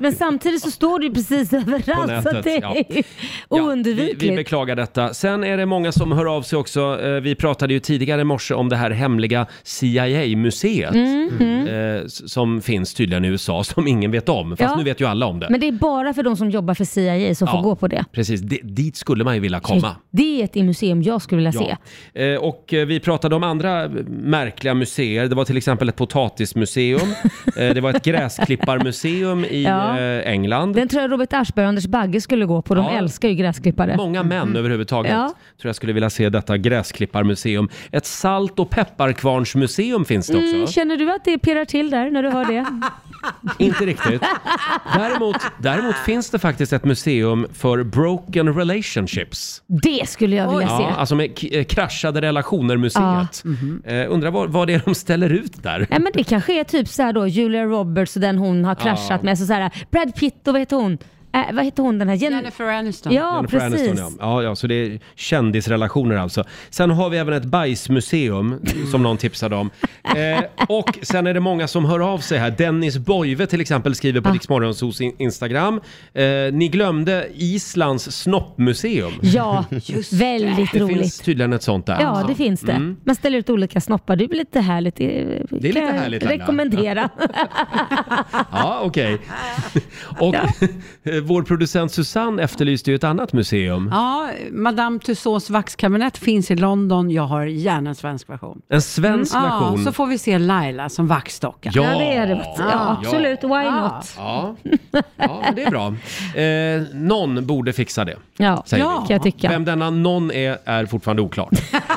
men samtidigt så står det ju precis På överallt nätet, så att det ja. är ju vi, oundvikligt. vi beklagar detta. Sen är det många som hör av sig också. Eh, Vi pratade ju tidigare i morse om det här hemliga CIA-museet Mhm. eh, s- som finns tydligen i USA som ingen vet om. Fast Ja. nu vet ju alla om det. Men det är bara för de som jobbar för CIA som Ja. får gå på det. Precis, di- dit skulle man ju vilja komma. Det är ett museum jag skulle vilja se. Eh, Och eh, vi pratade om andra eh, märkliga museer. Det var till exempel ett potatismuseum. Eh, det var ett gräsklipparmuseum i Ja. eh, England. Den tror jag Robert Aschberg och Anders Bagge skulle gå på. De Ja. älskar ju gräsklippare. Många män överhuvudtaget Ja. tror jag skulle vilja se detta gräsklipparmuseum. Ett salt och pepparkvarnsmuseum finns det också. Mm, känner du att det pirrar till där när du hör det? Inte riktigt. Däremot, däremot finns det faktiskt ett museum för broken relationships. Det skulle jag vilja se. Ja, alltså med k- eh, kraschade relationer-museet. Mm-hmm. Eh, undrar vad, vad det är de ställer ut där. Nej men det kanske är typ så här då Julia Roberts och den hon har kraschat Ja. med. Så, så här, Brad Pitt och vad heter hon? Äh, vad heter hon den här? Jen- Jennifer Aniston. Ja Jennifer precis. Aniston, ja. Ja, ja, så det är kändisrelationer alltså. Sen har vi även ett bajsmuseum som någon tipsade om. Eh, och sen är det många som hör av sig här. Dennis Boive till exempel skriver på Rix Morgonzoos in- Instagram. Eh, ni glömde Islands snoppmuseum. Ja, väldigt Det roligt. finns tydligen ett sånt där. ja alltså. det finns det. Mm. Man ställer ut olika snoppar. Det är väl lite härligt. Det lite härligt, Laila. Rekommendera. Ja, okej. Och eh, vår producent Susanne efterlyste ju ett annat museum. Ja, Madame Tussauds vaxkabinett finns i London. Jag har gärna en svensk version. En svensk version. Ja, Mm, ah, så får vi se Laila som vaxdocka. Ja. Ja, det är det. Ja, absolut. Why not? Ja, ja men det är bra. Eh, någon borde fixa det. Ja, säger ja. vi. kan jag tycka. Vem denna någon är, är fortfarande oklart.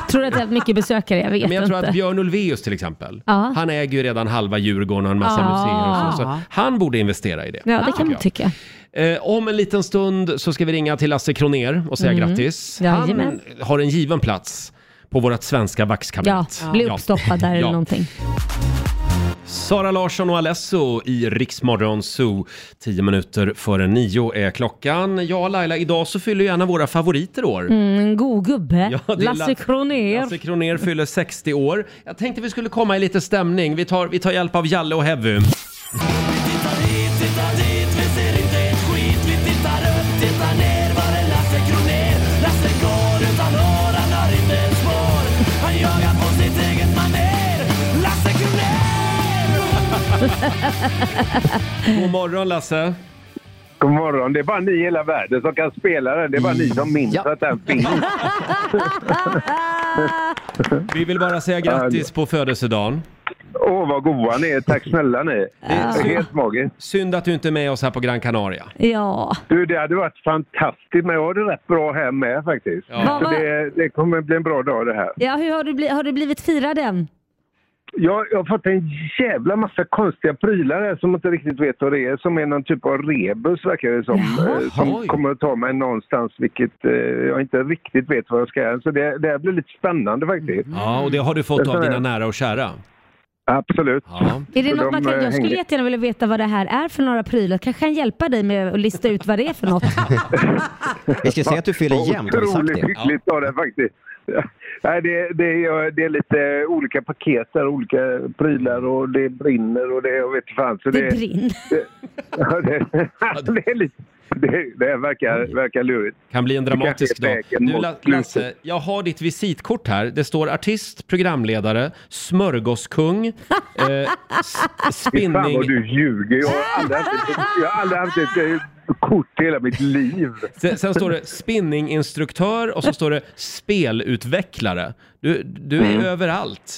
Tror du att det är mycket besökare? Jag vet Men jag tror inte. att Björn Ulvaeus till exempel, Ja. han äger ju redan halva Djurgården och en massa Ja. museer och så, så han borde investera i det. Ja, det kan man jag. tycka. Eh, om en liten stund så ska vi ringa till Lasse Kroner och säga Mm. grattis. Han Jajamän. har en given plats på vårt svenska Ja, vaxkabinett. bli uppstoppad där eller Ja. någonting. Sara Larsson och Alesso i Riksmorgon Zoo. Tio minuter före nio är klockan. Ja, Laila, idag så fyller ju en av våra favoriter år. Mm, en god gubbe. Ja, det är La- Lasse Kronér. Lasse Kroner fyller 60 år. Jag tänkte vi skulle komma i lite stämning. Vi tar, vi tar hjälp av Jalle och Heavy. God morgon Lasse! God morgon. Det är bara ni i hela världen som kan spela den. Det är bara Mm. ni som minns att den finns. Vi vill bara säga grattis på födelsedagen. Åh, vad goa ni är. Tack snälla ni. Det är helt magiskt. Mm. Synd att du inte är med oss här på Gran Canaria. Ja. Du, det hade varit fantastiskt, men jag har det rätt bra här med faktiskt. Ja. Så det, det kommer bli en bra dag det här. Ja, hur har du, bli- har du blivit firad än? Jag, jag har fått en jävla massa konstiga prylar här som jag inte riktigt vet vad det är. Som är någon typ av rebus verkar det som. Jaha. eh, som Oj. kommer att ta mig någonstans vilket eh, jag inte riktigt vet vad jag ska göra. Så det, det här blir lite spännande faktiskt. Mm. Ja, och det har du fått av Sådär. dina nära och kära. Absolut. Är det Så något de, man kan, eh, jag skulle hänger- jättegärna vilja veta vad det här är för några prylar. Kanske han hjälpa dig med att lista ut vad det är för något. Vi ska säga att du fyller jämnt, har vi sagt Otroligt det? hyggligt av dig faktiskt. Nej, det, det, är, det är lite olika paket där, olika prylar och det brinner och det, jag vet inte fan. Så Det brinner. Det, ja, det, det är lite, det, det här Mm. verkar, verkar lurigt. Kan bli en dramatisk dag. Du La- Lasse, Lasse. jag har ditt visitkort här. Det står artist, programledare, smörgåskung, eh, s- Fy fan spinning... vad du ljuger. Jag har aldrig haft ett, jag har aldrig haft ett eh, kort i hela mitt liv. Sen, sen står det spinninginstruktör och så står det spelutvecklare. Du, du är Mm. överallt.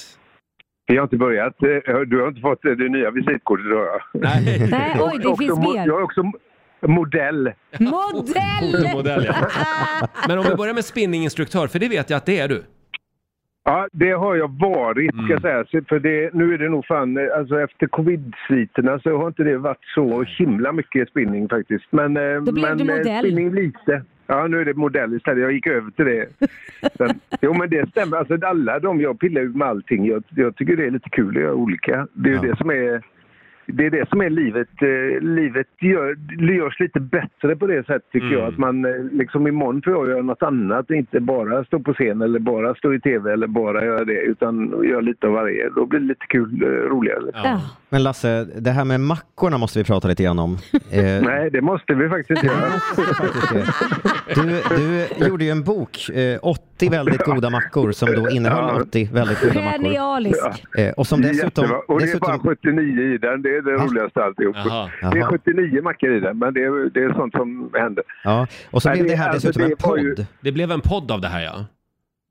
Jag har inte börjat. eh, Du har inte fått eh, det nya visitkortet då? Nej, Nej, oj, det finns mer. Jag är också mo- modell. Modell! Ah, Modell, ja. Men om vi börjar med spinninginstruktör, för det vet jag att det är du. Ja, det har jag varit ska jag säga. Så För det, nu är det nog fan, eh, alltså efter covid-sviterna så har inte det varit så himla mycket spinning faktiskt. Men, eh, Då blev men du eh, modell. spinning lite. Ja, nu är det modell istället. Jag gick över till det. Sen, jo, men det stämmer. Alltså alla de, jag pillar ju med allting. Jag, jag tycker det är lite kul att göra olika. Det är ju det som är det är det som är livet. Eh, Livet gör, görs lite bättre på det sättet tycker Mm. jag. Att man eh, liksom imorgon får jag göra något annat. Inte bara stå på scen eller bara stå i tv eller bara göra det. Utan göra lite av varje. Då blir det lite kul, eh, roligare. Men Lasse, det här med mackorna måste vi prata lite grann om. Eh, Nej, det måste vi faktiskt göra. Du, du gjorde ju en bok, eh, 80 väldigt goda mackor, som då innehöll 80 väldigt goda mackor. Genialisk. Eh, Och som dessutom... Jättebra. Och det är dessutom Ah. bara 79 i den. Det är det roligaste alltihop. Jaha. Det är Jaha. 79 mackor i den, men det är, det är sånt som händer. ja. Och så Nej, blev det det- här alltså, dessutom det en var podd. ju- Det blev en podd av det här, ja.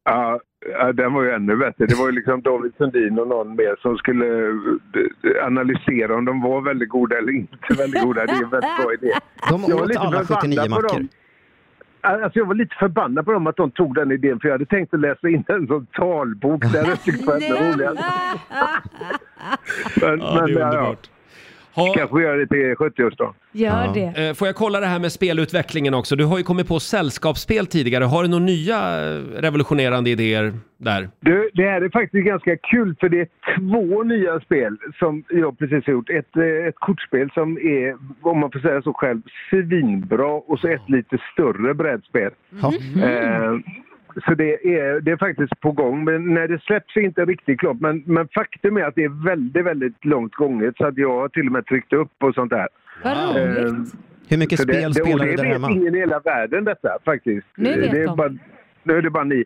Ja, ja, den var ju ännu bättre. Det var ju liksom David Sundin och någon mer som skulle eh, analysera om de var väldigt goda eller inte väldigt goda. Det är en väldigt bra idé. De Jag var åt lite alla förbannad 79 på mackor. dem. Alltså jag var lite förbannad på dem att de tog den idén för jag hade tänkt att läsa in den som talbok. Det hade jag tyckt var ännu roligare. Men, Ja, det är underbart. Kanske vi gör det till 70-årsdagen. Ja. Eh, Får jag kolla det här med spelutvecklingen också? Du har ju kommit på sällskapsspel tidigare. Har du några nya eh, revolutionerande idéer där? Du, det här är faktiskt ganska kul för det är två nya spel som jag precis har gjort. Ett, eh, ett kortspel som är, om man får säga så själv, svinbra och så ett lite större brädspel. Mm. Eh, så det är, det är faktiskt på gång. Men när det släpps är inte riktigt klart. Men, men faktum är att det är väldigt, väldigt långt gånget så att jag har till och med tryckt upp och sånt där. Vad roligt. Hur mycket Så det- spel det- och spelar du där Det hemma? vet ingen i hela världen detta faktiskt. Nu vet det är de. bara, nu är det bara ni.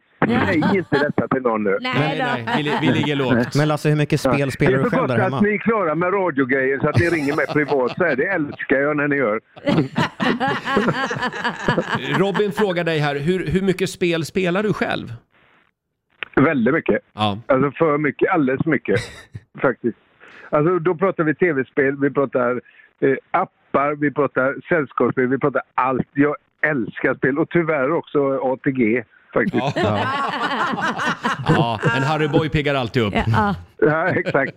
Säg inte detta till någon nu. Nej då. Vi, li- vi ligger lågt. Men Lasse, hur mycket spel spelar det du är så själv där gott hemma? att ni är klara med radiogrejer så att ni ringer mig privat. Så här, det älskar jag när ni gör. Robin frågar dig här, hur, hur mycket spel spelar du själv? Väldigt mycket. Ja. Alltså för mycket, alldeles mycket faktiskt. Alltså då pratar vi tv-spel, vi pratar eh, appar, vi pratar sällskapsspel, vi pratar allt. Jag älskar spel och tyvärr också ATG faktiskt. Ja. Ja, en Harry Boy piggar alltid upp. Ja. Ja, exakt.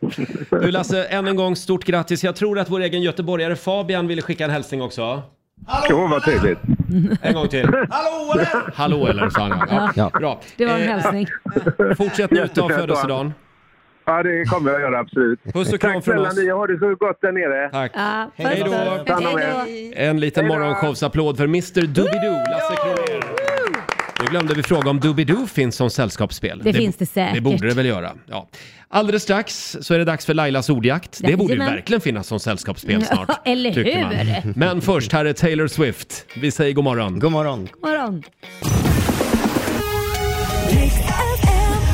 Du Lasse, än en gång stort grattis. Jag tror att vår egen göteborgare Fabian ville skicka en hälsning också. Åh, vad trevligt. En gång till. Hallå eller? Hallå eller, sa han ja. Ja. Bra. Det var en Eh, hälsning. Fortsätt njuta av Jättefint, födelsedagen. Ja, det kommer jag göra absolut. Puss och kram Tack från snälla oss. ni, ha det så gott där nere. Tack. Ja, puss Hej då. då. Ta hand om er. En liten morgonshowsapplåd för Mr Doobidoo, Lasse Kronér. Nu glömde vi fråga om Doobidoo finns som sällskapsspel. Det finns det säkert. Det borde det väl göra. Ja. Alldeles strax så är det dags för Lailas ordjakt. Det borde ju Jajamän. verkligen finnas som sällskapsspel snart. Ja, eller tycker hur? Men först, här är Taylor Swift. Vi säger god morgon. God morgon. Morgon.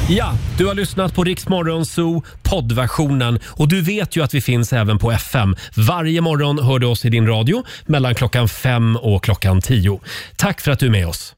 Ja, du har lyssnat på Rix Morgon Zoo poddversionen och du vet ju att vi finns även på FM. Varje morgon hör du oss i din radio mellan klockan fem och klockan tio. Tack för att du är med oss.